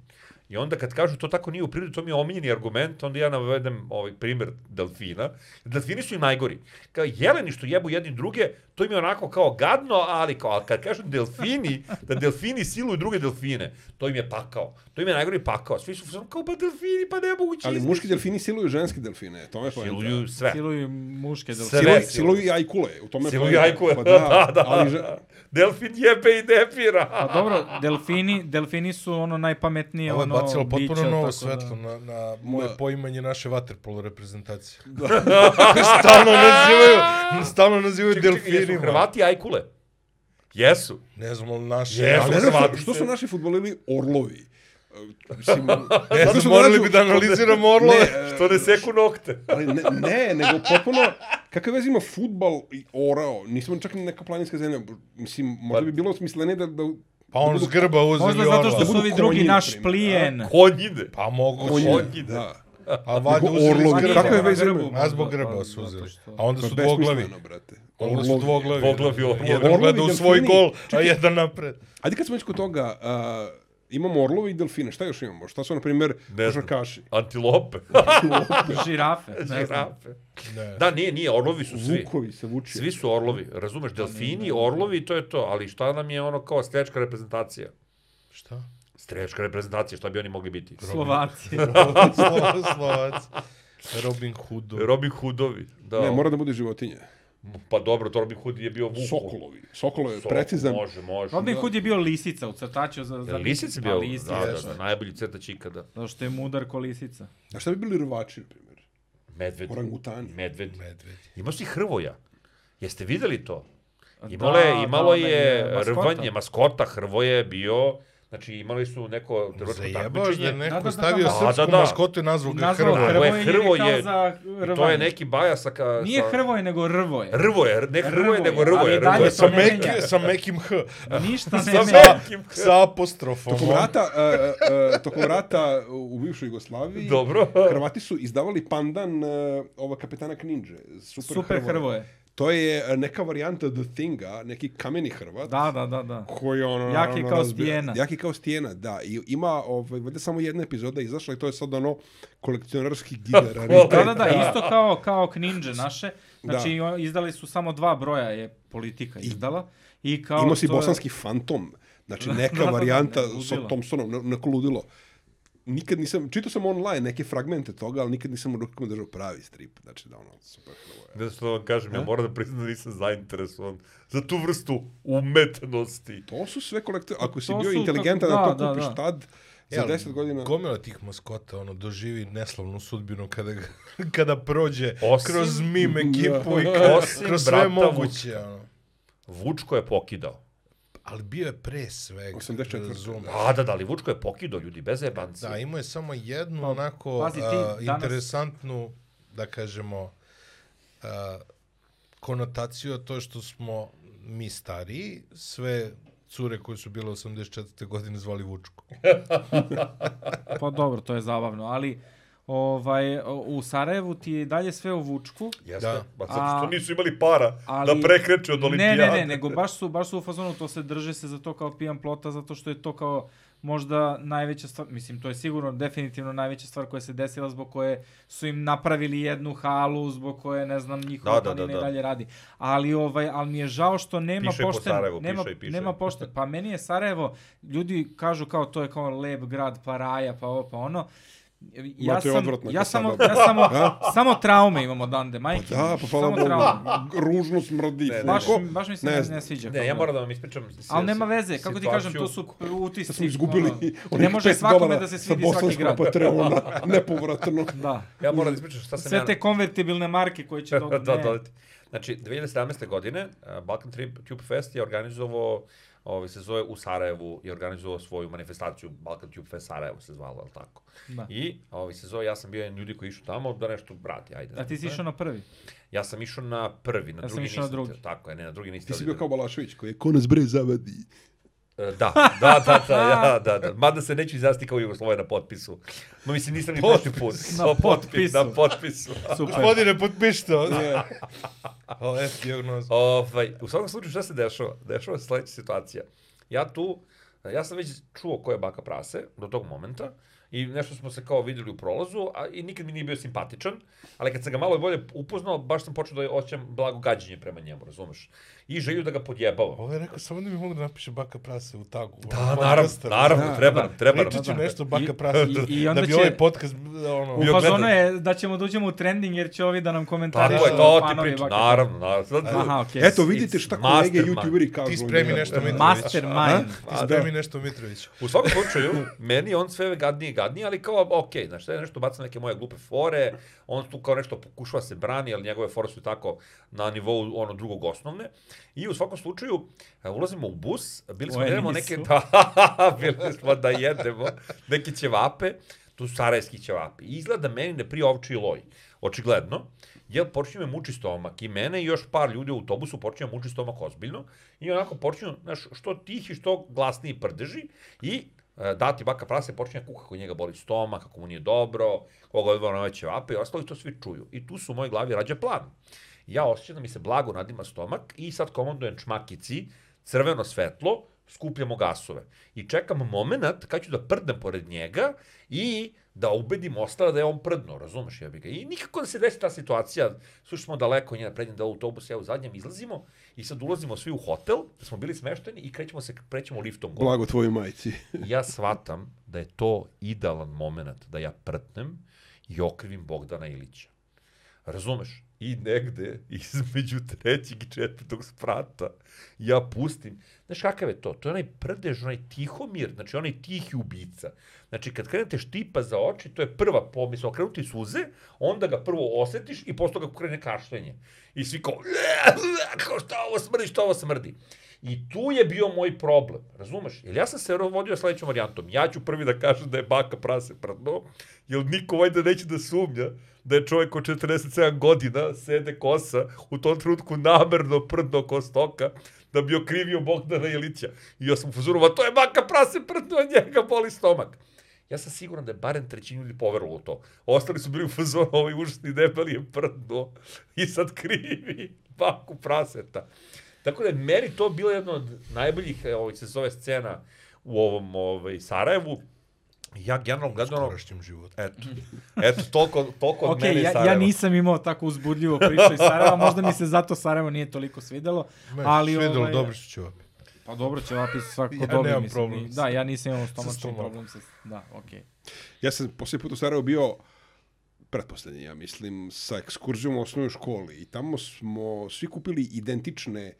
[SPEAKER 2] I onda kad kažu to tako nije u prirodi, to mi je omiljeni argument, onda ja navedem ovaj primjer delfina. Delfini su i najgori. Kao jeleni što jebu jedni druge, to im je onako kao gadno, ali kao, ali kad kažu delfini, da delfini siluju druge delfine, to im je pakao. To im je najgori pakao. Svi su kao, pa delfini, pa ne mogu
[SPEAKER 3] Ali muški delfini siluju ženski delfine, to je poenta.
[SPEAKER 2] Siluju sve.
[SPEAKER 4] Siluju muške delfine.
[SPEAKER 2] E. Sve.
[SPEAKER 3] Siluju,
[SPEAKER 2] siluju.
[SPEAKER 3] siluju i ajkule, u tome je
[SPEAKER 2] Siluju
[SPEAKER 3] poenta.
[SPEAKER 2] jajku.
[SPEAKER 3] Pa
[SPEAKER 2] da,
[SPEAKER 3] da,
[SPEAKER 2] da,
[SPEAKER 3] ali že...
[SPEAKER 2] da. Delfin jebe i depira.
[SPEAKER 4] Pa dobro, delfini, delfini su ono najpametnije
[SPEAKER 1] Ovo je
[SPEAKER 4] ono
[SPEAKER 1] bacilo
[SPEAKER 4] biće,
[SPEAKER 1] potpuno novo
[SPEAKER 4] tako
[SPEAKER 1] svetlo na, na moje
[SPEAKER 3] Da.
[SPEAKER 1] poimanje naše vaterpolo reprezentacije. stalno nazivaju, stalno nazivaju delfinima.
[SPEAKER 2] jesu Hrvati ajkule? Jesu.
[SPEAKER 1] Ne znam, ali naše...
[SPEAKER 2] Jesu.
[SPEAKER 3] Ali ne znam,
[SPEAKER 2] Hrvati
[SPEAKER 3] što
[SPEAKER 2] se-
[SPEAKER 3] su naši futbolili orlovi? Uh, Mislim,
[SPEAKER 1] E,
[SPEAKER 3] znaš što
[SPEAKER 1] morali
[SPEAKER 3] dođu-
[SPEAKER 1] bi da analiziramo orlove.
[SPEAKER 3] Ne, e,
[SPEAKER 2] Što ne seku nokte.
[SPEAKER 3] Ali ne, ne, nego potpuno, kakve veze ima futbal i orao? Nismo čak ni neka planinska zemlja. Mislim, možda bi bilo smislenije da, da
[SPEAKER 1] Pa on s grba uzeli
[SPEAKER 4] Možda zato što
[SPEAKER 1] orla.
[SPEAKER 4] su ovi
[SPEAKER 3] Budu
[SPEAKER 4] drugi
[SPEAKER 3] konji,
[SPEAKER 4] naš
[SPEAKER 3] na primjer,
[SPEAKER 4] plijen.
[SPEAKER 2] Konjine.
[SPEAKER 1] Pa mogu
[SPEAKER 3] konji,
[SPEAKER 1] su.
[SPEAKER 2] Konji,
[SPEAKER 3] da.
[SPEAKER 1] A vade
[SPEAKER 3] Nego
[SPEAKER 1] uzeli
[SPEAKER 3] orlovi.
[SPEAKER 1] s grba.
[SPEAKER 3] Kakve veze imaju?
[SPEAKER 1] A zbog grba su uzeli. A onda
[SPEAKER 3] Pa
[SPEAKER 1] su dvoglavi.
[SPEAKER 3] besmisleno, brate.
[SPEAKER 1] Onda su dvoglavi.
[SPEAKER 2] Dvoglavi orlovi.
[SPEAKER 1] Jedan
[SPEAKER 3] Orlovi,
[SPEAKER 1] gleda u svoj
[SPEAKER 3] delfini.
[SPEAKER 1] gol, a jedan napred.
[SPEAKER 3] Ajde kad smo već kod toga, a, imamo orlove i delfine. Šta još imamo? Šta su, na primjer,
[SPEAKER 2] Ne znam.
[SPEAKER 3] košarkaši?
[SPEAKER 2] Antilope.
[SPEAKER 4] Žirafe. Ne znam.
[SPEAKER 2] Žirafe.
[SPEAKER 1] Ne.
[SPEAKER 2] Da, nije, nije, orlovi su svi.
[SPEAKER 3] Vukovi se vuče.
[SPEAKER 2] Svi su orlovi, razumeš, delfini, orlovi, to je to. Ali šta nam je ono kao strečka reprezentacija?
[SPEAKER 1] Šta?
[SPEAKER 2] Strečka reprezentacija, šta bi oni mogli biti?
[SPEAKER 4] Slovaci.
[SPEAKER 1] Slovac. Robin Hood.
[SPEAKER 2] Robin Hoodovi, da.
[SPEAKER 3] Ne, mora da bude životinje.
[SPEAKER 2] Pa dobro, to Robin Hood je bio vuk.
[SPEAKER 3] Sokolovi. Sokolo je
[SPEAKER 2] Sokol,
[SPEAKER 3] precizan.
[SPEAKER 2] Može, može.
[SPEAKER 4] Robin Hood je bio lisica u crtaču za... za
[SPEAKER 2] Jel Lisic je bio,
[SPEAKER 4] Pa,
[SPEAKER 2] da,
[SPEAKER 4] lisica.
[SPEAKER 2] da, da, najbolji crtač ikada.
[SPEAKER 4] Zato što je mudar ko lisica.
[SPEAKER 3] A šta bi bili rvači, na primjer?
[SPEAKER 2] Medved.
[SPEAKER 3] Orangutani.
[SPEAKER 2] Medved.
[SPEAKER 1] Medved.
[SPEAKER 2] Imao si Hrvoja. Jeste videli to?
[SPEAKER 4] A
[SPEAKER 2] Imalo
[SPEAKER 4] da,
[SPEAKER 2] je, imalo
[SPEAKER 4] da, onaj,
[SPEAKER 2] je
[SPEAKER 4] e, maskota.
[SPEAKER 2] rvanje, maskota, Hrvoje je bio, znači imali su neko trgovačko
[SPEAKER 1] Zajebaš da je
[SPEAKER 2] takmičenje.
[SPEAKER 1] neko
[SPEAKER 4] Da, da, da,
[SPEAKER 1] stavio
[SPEAKER 4] da.
[SPEAKER 2] Da,
[SPEAKER 1] srpsku
[SPEAKER 2] da, da.
[SPEAKER 1] maskotu i nazvao ga
[SPEAKER 4] Nazvao
[SPEAKER 1] Hrvoje.
[SPEAKER 2] Hrvoje.
[SPEAKER 4] Hrvoje, Hrvoje
[SPEAKER 2] Hrvoje,
[SPEAKER 4] je kao za
[SPEAKER 2] I
[SPEAKER 4] rvanje.
[SPEAKER 2] to je neki baja sa... Ka,
[SPEAKER 4] Nije
[SPEAKER 2] sa-
[SPEAKER 4] Hrvoje, nego Rvoje.
[SPEAKER 2] Hrvoje, ne Hrvoje,
[SPEAKER 4] Hrvoje,
[SPEAKER 2] nego Hrvoje.
[SPEAKER 4] ali dalje
[SPEAKER 2] Hrvoje.
[SPEAKER 4] to
[SPEAKER 1] Sa,
[SPEAKER 4] ne menja.
[SPEAKER 1] meki, sa mekim H.
[SPEAKER 4] Ništa ne
[SPEAKER 1] Sa,
[SPEAKER 4] menja.
[SPEAKER 1] sa, sa apostrofom.
[SPEAKER 3] Tokom rata, e, e, tokom rata u bivšoj Jugoslaviji
[SPEAKER 2] Dobro.
[SPEAKER 3] Hrvati su izdavali pandan e, ova kapetana Kninđe. Super,
[SPEAKER 4] Super Hrvoje.
[SPEAKER 3] To je e, neka varijanta The Thinga, neki kameni Hrvat.
[SPEAKER 4] Da, da, da, da.
[SPEAKER 3] Koji ono,
[SPEAKER 4] Jak je
[SPEAKER 3] naravno,
[SPEAKER 4] kao
[SPEAKER 3] razbija.
[SPEAKER 4] stijena.
[SPEAKER 3] Jak je kao stijena, da. I ima, ovaj, valjda samo jedna epizoda izašla i to je sad ono kolekcionarski gigar.
[SPEAKER 4] Da, da, da, isto kao, kao Kninđe naše. Znači, o- izdali su samo dva broja, je politika izdala. I kao
[SPEAKER 3] Imao si
[SPEAKER 4] to je-
[SPEAKER 3] bosanski fantom. Znači,
[SPEAKER 4] da,
[SPEAKER 3] neka
[SPEAKER 4] da,
[SPEAKER 3] varijanta
[SPEAKER 4] ne,
[SPEAKER 3] sa
[SPEAKER 4] ludilo.
[SPEAKER 3] Thompsonom, ne- neko ludilo. Nikad nisam, čitao sam online neke fragmente toga, ali nikad nisam u rukama držao pravi strip. Znači, da ono, super hroje.
[SPEAKER 2] Ne znam što da vam kažem, ja moram da priznam da nisam zainteresovan za tu vrstu umetnosti.
[SPEAKER 3] To su sve kolekte... Ako si
[SPEAKER 4] Pa To
[SPEAKER 3] bio
[SPEAKER 4] su
[SPEAKER 3] inteligentan da,
[SPEAKER 4] kako- da,
[SPEAKER 3] to
[SPEAKER 4] da,
[SPEAKER 3] kupiš
[SPEAKER 4] da.
[SPEAKER 3] tad, za
[SPEAKER 1] Jel,
[SPEAKER 3] 10 godina...
[SPEAKER 1] Gomila tih maskota ono, doživi neslavnu sudbinu kada, ga- kada prođe
[SPEAKER 2] Osim-
[SPEAKER 1] kroz mim ekipu i kada,
[SPEAKER 2] Osim
[SPEAKER 1] kroz
[SPEAKER 2] brata
[SPEAKER 1] sve moguće. Ono.
[SPEAKER 2] Vučko je pokidao.
[SPEAKER 1] Ali bio je pre svega.
[SPEAKER 3] 84..
[SPEAKER 1] razumeš.
[SPEAKER 2] A da, da, ali Vučko je pokidao, ljudi, bez jebanci.
[SPEAKER 1] Da, imao je samo jednu onako
[SPEAKER 4] Pa, pazi, ti
[SPEAKER 1] a,
[SPEAKER 4] danas-
[SPEAKER 1] interesantnu, da kažemo, a, konotaciju, a to je što smo mi stariji, sve cure koje su bile 84. godine zvali Vučko.
[SPEAKER 4] Pa dobro, to je zabavno, ali ovaj, o- u Sarajevu ti je i dalje sve u Vučku.
[SPEAKER 2] Jeste,
[SPEAKER 1] Da.
[SPEAKER 2] ba,
[SPEAKER 3] Pa,
[SPEAKER 2] Pa zato što
[SPEAKER 4] A-
[SPEAKER 2] nisu imali para
[SPEAKER 4] ali-
[SPEAKER 2] da prekreče od
[SPEAKER 4] Ne,
[SPEAKER 2] olimpijade.
[SPEAKER 4] ne, ne, nego baš su, baš su u fazonu, to se drže se za to kao pijan plota, zato što je to kao možda najveća stvar, mislim, to je sigurno definitivno najveća stvar koja se desila zbog koje su im napravili jednu halu, zbog koje, ne znam,
[SPEAKER 2] Da,
[SPEAKER 4] njihova
[SPEAKER 2] da,
[SPEAKER 4] da,
[SPEAKER 2] da,
[SPEAKER 4] planina
[SPEAKER 2] da.
[SPEAKER 4] i dalje radi. Ali, ovaj, ali mi je žao što nema
[SPEAKER 2] Pišaj po
[SPEAKER 4] pošten,
[SPEAKER 2] Sarajevu,
[SPEAKER 4] nema,
[SPEAKER 2] pišaj, pišaj.
[SPEAKER 4] nema pošten, pa meni je Sarajevo, ljudi kažu kao to je kao lep grad, pa raja, pa ovo, pa ono, Ja
[SPEAKER 3] Ma, to je
[SPEAKER 4] sam,
[SPEAKER 3] odvratno
[SPEAKER 4] ja
[SPEAKER 3] kad
[SPEAKER 4] samo,
[SPEAKER 3] sada-
[SPEAKER 4] ja samo, samo traume imamo dande, majke.
[SPEAKER 3] Da, pa hvala
[SPEAKER 4] samo traume.
[SPEAKER 3] Bogu. Ružno smrdi.
[SPEAKER 2] Ne,
[SPEAKER 4] Baš,
[SPEAKER 3] Ko-
[SPEAKER 4] baš mi se
[SPEAKER 3] ne
[SPEAKER 4] ne,
[SPEAKER 3] znam.
[SPEAKER 4] ne sviđa.
[SPEAKER 2] Ne, ja moram da vam ispričam si-
[SPEAKER 4] Ali nema
[SPEAKER 2] si-
[SPEAKER 4] veze, kako ti kažem, to su utisci.
[SPEAKER 3] Da smo izgubili
[SPEAKER 4] ono, ne
[SPEAKER 3] onih
[SPEAKER 4] može
[SPEAKER 3] 5
[SPEAKER 4] svakome
[SPEAKER 3] dolara
[SPEAKER 4] da se
[SPEAKER 3] sa
[SPEAKER 4] svidi svaki
[SPEAKER 3] bosanskog
[SPEAKER 4] grad.
[SPEAKER 3] Patreona, nepovratno.
[SPEAKER 4] Da.
[SPEAKER 2] Ja moram da ispričam šta sam ja...
[SPEAKER 4] Sve te konvertibilne marke koje će
[SPEAKER 2] da,
[SPEAKER 4] dodati.
[SPEAKER 2] da, dodati. Znači, 2017. godine a, Balkan Trip Tube Fest je organizovao, ovaj, se zove u Sarajevu, je organizovao svoju manifestaciju, Balkan Tube Fest Sarajevo se zvala, ali tako.
[SPEAKER 4] Da.
[SPEAKER 2] I ovaj, se zove, ja sam bio jedan ljudi koji išu tamo da nešto vrati, ajde.
[SPEAKER 4] A ti si
[SPEAKER 2] Ne.
[SPEAKER 4] išao na prvi.
[SPEAKER 2] Ja sam išao na prvi, na
[SPEAKER 4] Ja sam
[SPEAKER 2] drugi
[SPEAKER 4] išao na
[SPEAKER 2] nisam.
[SPEAKER 4] drugi.
[SPEAKER 2] te- Tako je, ne, na drugi nisam.
[SPEAKER 3] Ti si
[SPEAKER 2] ali
[SPEAKER 3] bio
[SPEAKER 2] na-
[SPEAKER 3] kao Balašević koji je konac bre zavadi.
[SPEAKER 2] E, Da, da, da, da, ja, da, da. Mada se neću izjasniti kao Jugoslovoj na potpisu. No, mislim, nisam ni prošli put.
[SPEAKER 4] Na
[SPEAKER 2] O,
[SPEAKER 4] potpisu.
[SPEAKER 2] Na potpisu.
[SPEAKER 4] Super.
[SPEAKER 1] Gospodine, potpišite ovo. Ovo je diagnoza.
[SPEAKER 2] Ovaj, u svakom slučaju šta se dešava? Dešava se sledeća situacija. Ja tu, ja sam već čuo ko je baka prase do tog momenta i nešto smo se kao videli u prolazu a, i nikad mi nije bio simpatičan, ali kad sam ga malo bolje upoznao, baš sam počeo da osjećam blago gađenje prema njemu, razumeš? I želju da ga podjebavam.
[SPEAKER 1] Ovo je rekao samo da mi mogu da napiše baka prase u tagu.
[SPEAKER 2] Da, naravno, naravno,
[SPEAKER 3] Da,
[SPEAKER 2] treba nam, treba nam.
[SPEAKER 1] Pričat ću nešto
[SPEAKER 4] I-
[SPEAKER 1] baka prase.
[SPEAKER 4] i-
[SPEAKER 1] I,
[SPEAKER 4] i
[SPEAKER 1] da
[SPEAKER 4] onda
[SPEAKER 1] bi
[SPEAKER 4] će-
[SPEAKER 1] ovaj podcast ono,
[SPEAKER 4] U
[SPEAKER 2] Bio
[SPEAKER 4] fazonu
[SPEAKER 2] gledan.
[SPEAKER 4] je da ćemo da uđemo u trending jer će ovi da nam
[SPEAKER 2] Tako
[SPEAKER 4] komentarišu.
[SPEAKER 2] je, to ti
[SPEAKER 4] fanovi
[SPEAKER 2] pričam,
[SPEAKER 4] ovako.
[SPEAKER 2] naravno, naravno.
[SPEAKER 4] Aha, okej.
[SPEAKER 3] Eto, vidite šta kolege
[SPEAKER 2] mastermind.
[SPEAKER 3] youtuberi kažu.
[SPEAKER 1] Ti spremi nešto,
[SPEAKER 3] mi.
[SPEAKER 1] Mitrović.
[SPEAKER 4] Mastermind.
[SPEAKER 1] Ti spremi nešto, Mitrović.
[SPEAKER 2] U svakom slučaju, meni je on sve gadnije i gadnije, ali kao, ok, znaš, sve nešto baca neke moje glupe fore, on tu kao nešto pokušava se brani, ali njegove fore su i tako na nivou ono drugog osnovne. I u svakom slučaju, e, ulazimo u bus, bili smo,
[SPEAKER 4] Ojeni
[SPEAKER 2] jedemo neke,
[SPEAKER 4] su.
[SPEAKER 2] da, bili smo da jedemo neke ćevape, tu su sarajski ćevapi. I izgleda meni ne prije ovči loj, očigledno, jer počinje me muči stomak i mene i još par ljudi u autobusu počinje muči stomak ozbiljno i onako počinju, znaš, što tihi, što glasniji prdeži i e, dati baka prase počinje kuka kako njega boli stomak, kako mu nije dobro, koga je odvao na ove ćevape i ostalo i to svi čuju. I tu su u mojoj glavi rađa plan. Ja osjećam da mi se blago nadima stomak i sad komandujem čmakici, crveno svetlo, skupljamo gasove. I čekam moment kad ću da prdnem pored njega i da ubedim ostala da je on prdno, razumeš ja bi ga. I nikako da se desi ta situacija, slušali smo daleko njena prednjem da autobus, ja u zadnjem izlazimo i sad ulazimo svi u hotel, da smo bili smešteni i krećemo se, prećemo liftom gore.
[SPEAKER 3] Blago tvojoj majci.
[SPEAKER 2] I ja shvatam da je to idealan moment da ja prtnem i okrivim Bogdana Ilića. Razumeš? I negde između trećeg i četvrtog sprata ja pustim. Znaš kakav je to? To je onaj prdež, onaj tihomir, znači onaj tihi ubica. Znači kad krenete štipa za oči, to je prva pomisla, okrenuti suze, onda ga prvo osjetiš i posle toga krene kašljenje. I svi kao, kao šta ovo smrdi, šta ovo smrdi. I tu je bio moj problem, razumeš? Jer ja sam se vodio sledećom varijantom. Ja ću prvi da kažem da je baka prase prdno, jer niko vajda neće da sumnja da je čovjek od 47 godina sede kosa u tom trenutku namerno prdno ko stoka da bi okrivio Bogdana Ilića. I ja sam u fazonu, "Ma to je baka prase prdno, a njega boli stomak. Ja sam siguran da je barem trećinu ljudi poverilo u to. Ostali su bili u fazonu, ovaj užasni debeli je prdno i sad krivi baku praseta. Tako da je meni to bilo jedno od najboljih e, ovih se zove scena u ovom ovaj, Sarajevu. Ja generalno ono- E, gledano...
[SPEAKER 1] Korašnjem životu.
[SPEAKER 2] Eto, eto toliko, toliko od
[SPEAKER 4] Ok,
[SPEAKER 2] mene i
[SPEAKER 4] ja, ja
[SPEAKER 2] Sarajeva.
[SPEAKER 4] nisam imao tako uzbudljivo priču iz Sarajeva, možda mi se zato Sarajevo nije toliko svidelo,
[SPEAKER 1] Ne,
[SPEAKER 4] ali...
[SPEAKER 1] svidelo,
[SPEAKER 4] ovaj,
[SPEAKER 1] dobro što ću vam.
[SPEAKER 4] Pa dobro će vapis svakako
[SPEAKER 1] Ja
[SPEAKER 4] dobro,
[SPEAKER 1] nemam
[SPEAKER 4] mislim.
[SPEAKER 1] problem
[SPEAKER 4] i-
[SPEAKER 1] sa-
[SPEAKER 4] Da, ja nisam imao stomačni
[SPEAKER 1] stomakom.
[SPEAKER 4] problem sa... Da, okej.
[SPEAKER 3] Ja sam posljednji put u Sarajevo bio pretposlednji, ja mislim, sa ekskurzijom u osnovnoj školi i tamo smo svi kupili identične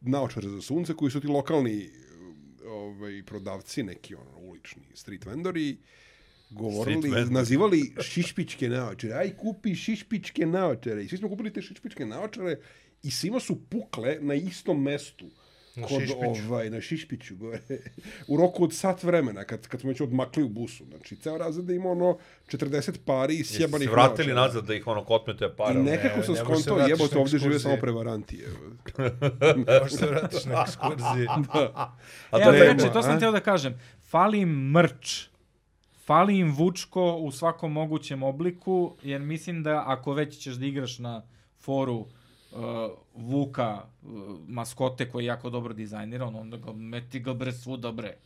[SPEAKER 3] naočare za sunce koji su ti lokalni ovaj, prodavci, neki ono, ulični street vendori, govorili,
[SPEAKER 2] Street
[SPEAKER 3] street
[SPEAKER 2] vendor.
[SPEAKER 3] nazivali šišpičke naočare. Aj, kupi šišpičke naočare. I svi smo kupili te šišpičke naočare i svima su pukle na istom mestu.
[SPEAKER 1] Na
[SPEAKER 3] Kod,
[SPEAKER 1] Šišpiću.
[SPEAKER 3] ovaj, na Šišpiću gore. u roku od sat vremena, kad, kad smo već odmakli u busu. Znači, ceo razred ima ono 40 pari
[SPEAKER 2] Jesi se
[SPEAKER 3] sjebanih
[SPEAKER 2] vratili nazad da ih ono kotmete
[SPEAKER 3] I
[SPEAKER 2] para. Ne.
[SPEAKER 3] nekako sam
[SPEAKER 1] ne, ne možeš se
[SPEAKER 3] skontao,
[SPEAKER 1] vratiš
[SPEAKER 3] jebote,
[SPEAKER 1] na
[SPEAKER 3] ovdje žive
[SPEAKER 1] ekskurzije.
[SPEAKER 3] samo prevaranti. evo.
[SPEAKER 1] Možeš se vratiš na ekskurzije.
[SPEAKER 2] A
[SPEAKER 4] E,
[SPEAKER 2] da
[SPEAKER 4] ali
[SPEAKER 2] ne,
[SPEAKER 3] nema,
[SPEAKER 4] reče, to
[SPEAKER 3] a?
[SPEAKER 4] sam teo da kažem. Fali im mrč. Fali im Vučko u svakom mogućem obliku, jer mislim da ako već ćeš da igraš na foru uh, Vuka, uh, maskote koji je jako dobro dizajniran, onda ga meti ga bre svuda bre.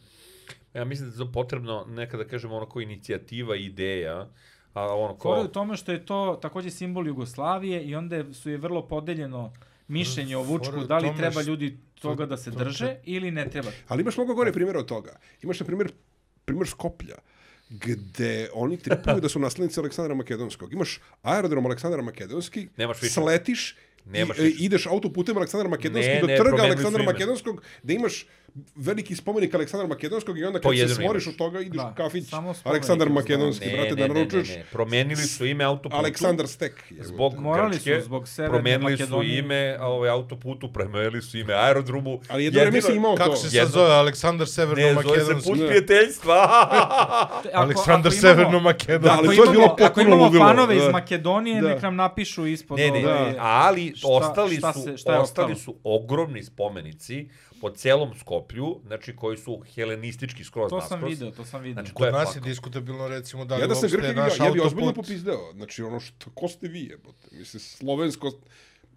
[SPEAKER 2] ja mislim da je to potrebno nekada kažemo ono ko inicijativa, ideja, a ono
[SPEAKER 4] Fora je
[SPEAKER 2] ko...
[SPEAKER 4] u tome što je to takođe simbol Jugoslavije i onda je- su je vrlo podeljeno mišljenje o
[SPEAKER 1] Fora je
[SPEAKER 4] Vučku,
[SPEAKER 1] u
[SPEAKER 4] da li
[SPEAKER 1] tome
[SPEAKER 4] treba
[SPEAKER 1] što-
[SPEAKER 4] ljudi toga da se drže ili ne treba.
[SPEAKER 3] Ali imaš mnogo gore primjera od toga. Imaš, na primjer, primjer Skoplja, gde oni tripuju da su naslednici Aleksandra Makedonskog. Imaš aerodrom Aleksandra Makedonski,
[SPEAKER 2] Nemaš više.
[SPEAKER 3] sletiš,
[SPEAKER 2] Nemaš
[SPEAKER 3] i, e,
[SPEAKER 2] više.
[SPEAKER 3] ideš autoputem Aleksandra Makedonskog
[SPEAKER 2] Ne,
[SPEAKER 3] do
[SPEAKER 2] ne,
[SPEAKER 3] trga
[SPEAKER 2] promenili su
[SPEAKER 3] Aleksandra
[SPEAKER 2] ime.
[SPEAKER 3] Makedonskog, da imaš veliki spomenik Aleksandra Makedonskog i onda
[SPEAKER 2] To
[SPEAKER 3] kad se
[SPEAKER 2] jedino
[SPEAKER 3] smoriš
[SPEAKER 2] imaš.
[SPEAKER 3] od toga ideš
[SPEAKER 4] Da,
[SPEAKER 3] u kafić
[SPEAKER 4] samo spomenik
[SPEAKER 3] Aleksandar
[SPEAKER 4] je u
[SPEAKER 3] Makedonski,
[SPEAKER 2] Ne,
[SPEAKER 3] brate,
[SPEAKER 2] ne,
[SPEAKER 3] da
[SPEAKER 2] ne, ne,
[SPEAKER 3] naručuješ
[SPEAKER 2] ne, promijenili su ime autoputu.
[SPEAKER 3] Aleksandar Stek. jebote.
[SPEAKER 2] Zbog
[SPEAKER 4] Morali su
[SPEAKER 2] Grčke,
[SPEAKER 4] zbog Severne
[SPEAKER 2] promijenili su
[SPEAKER 4] Makedonije.
[SPEAKER 2] ime a, ovaj, autoputu, promijenili su ime aerodromu.
[SPEAKER 3] Ali jedno vreme
[SPEAKER 2] Jedino-
[SPEAKER 3] si imao
[SPEAKER 1] Kako
[SPEAKER 3] to.
[SPEAKER 1] se sad
[SPEAKER 2] Jedno-
[SPEAKER 1] zove? Aleksandar
[SPEAKER 2] Ne, zove se
[SPEAKER 1] Severno-Makedonski.
[SPEAKER 2] put prijateljstva.
[SPEAKER 4] Ako- ako
[SPEAKER 1] Aleksandar
[SPEAKER 4] imamo-
[SPEAKER 1] Severno-Makedonski.
[SPEAKER 3] Da, ali to je bilo
[SPEAKER 4] ako
[SPEAKER 3] potpuno
[SPEAKER 4] imamo
[SPEAKER 3] ludilo.
[SPEAKER 4] fanove iz
[SPEAKER 3] Da.
[SPEAKER 4] Makedonije,
[SPEAKER 3] Da.
[SPEAKER 4] nek nam napišu ispod
[SPEAKER 2] Ne, ne,
[SPEAKER 4] ovaj,
[SPEAKER 2] ne, ali
[SPEAKER 4] šta-
[SPEAKER 2] ostali
[SPEAKER 4] šta
[SPEAKER 2] su
[SPEAKER 4] se- šta je
[SPEAKER 2] ostali
[SPEAKER 4] ostalo?
[SPEAKER 2] su ogromni spomenici po celom Skoplju, znači koji su helenistički skroz
[SPEAKER 4] To sam
[SPEAKER 2] naskroz.
[SPEAKER 4] video, to sam video.
[SPEAKER 2] Znači, to je
[SPEAKER 1] Kod nas je
[SPEAKER 2] pakao.
[SPEAKER 1] diskutabilno recimo da li
[SPEAKER 3] Ja da sam
[SPEAKER 1] uopšte
[SPEAKER 3] Grke vidio,
[SPEAKER 1] naš
[SPEAKER 3] ja bi ozbiljno
[SPEAKER 1] autoput
[SPEAKER 3] popizdeo. Znači, ono što, ko ste vi, jebote? Mislim, slovensko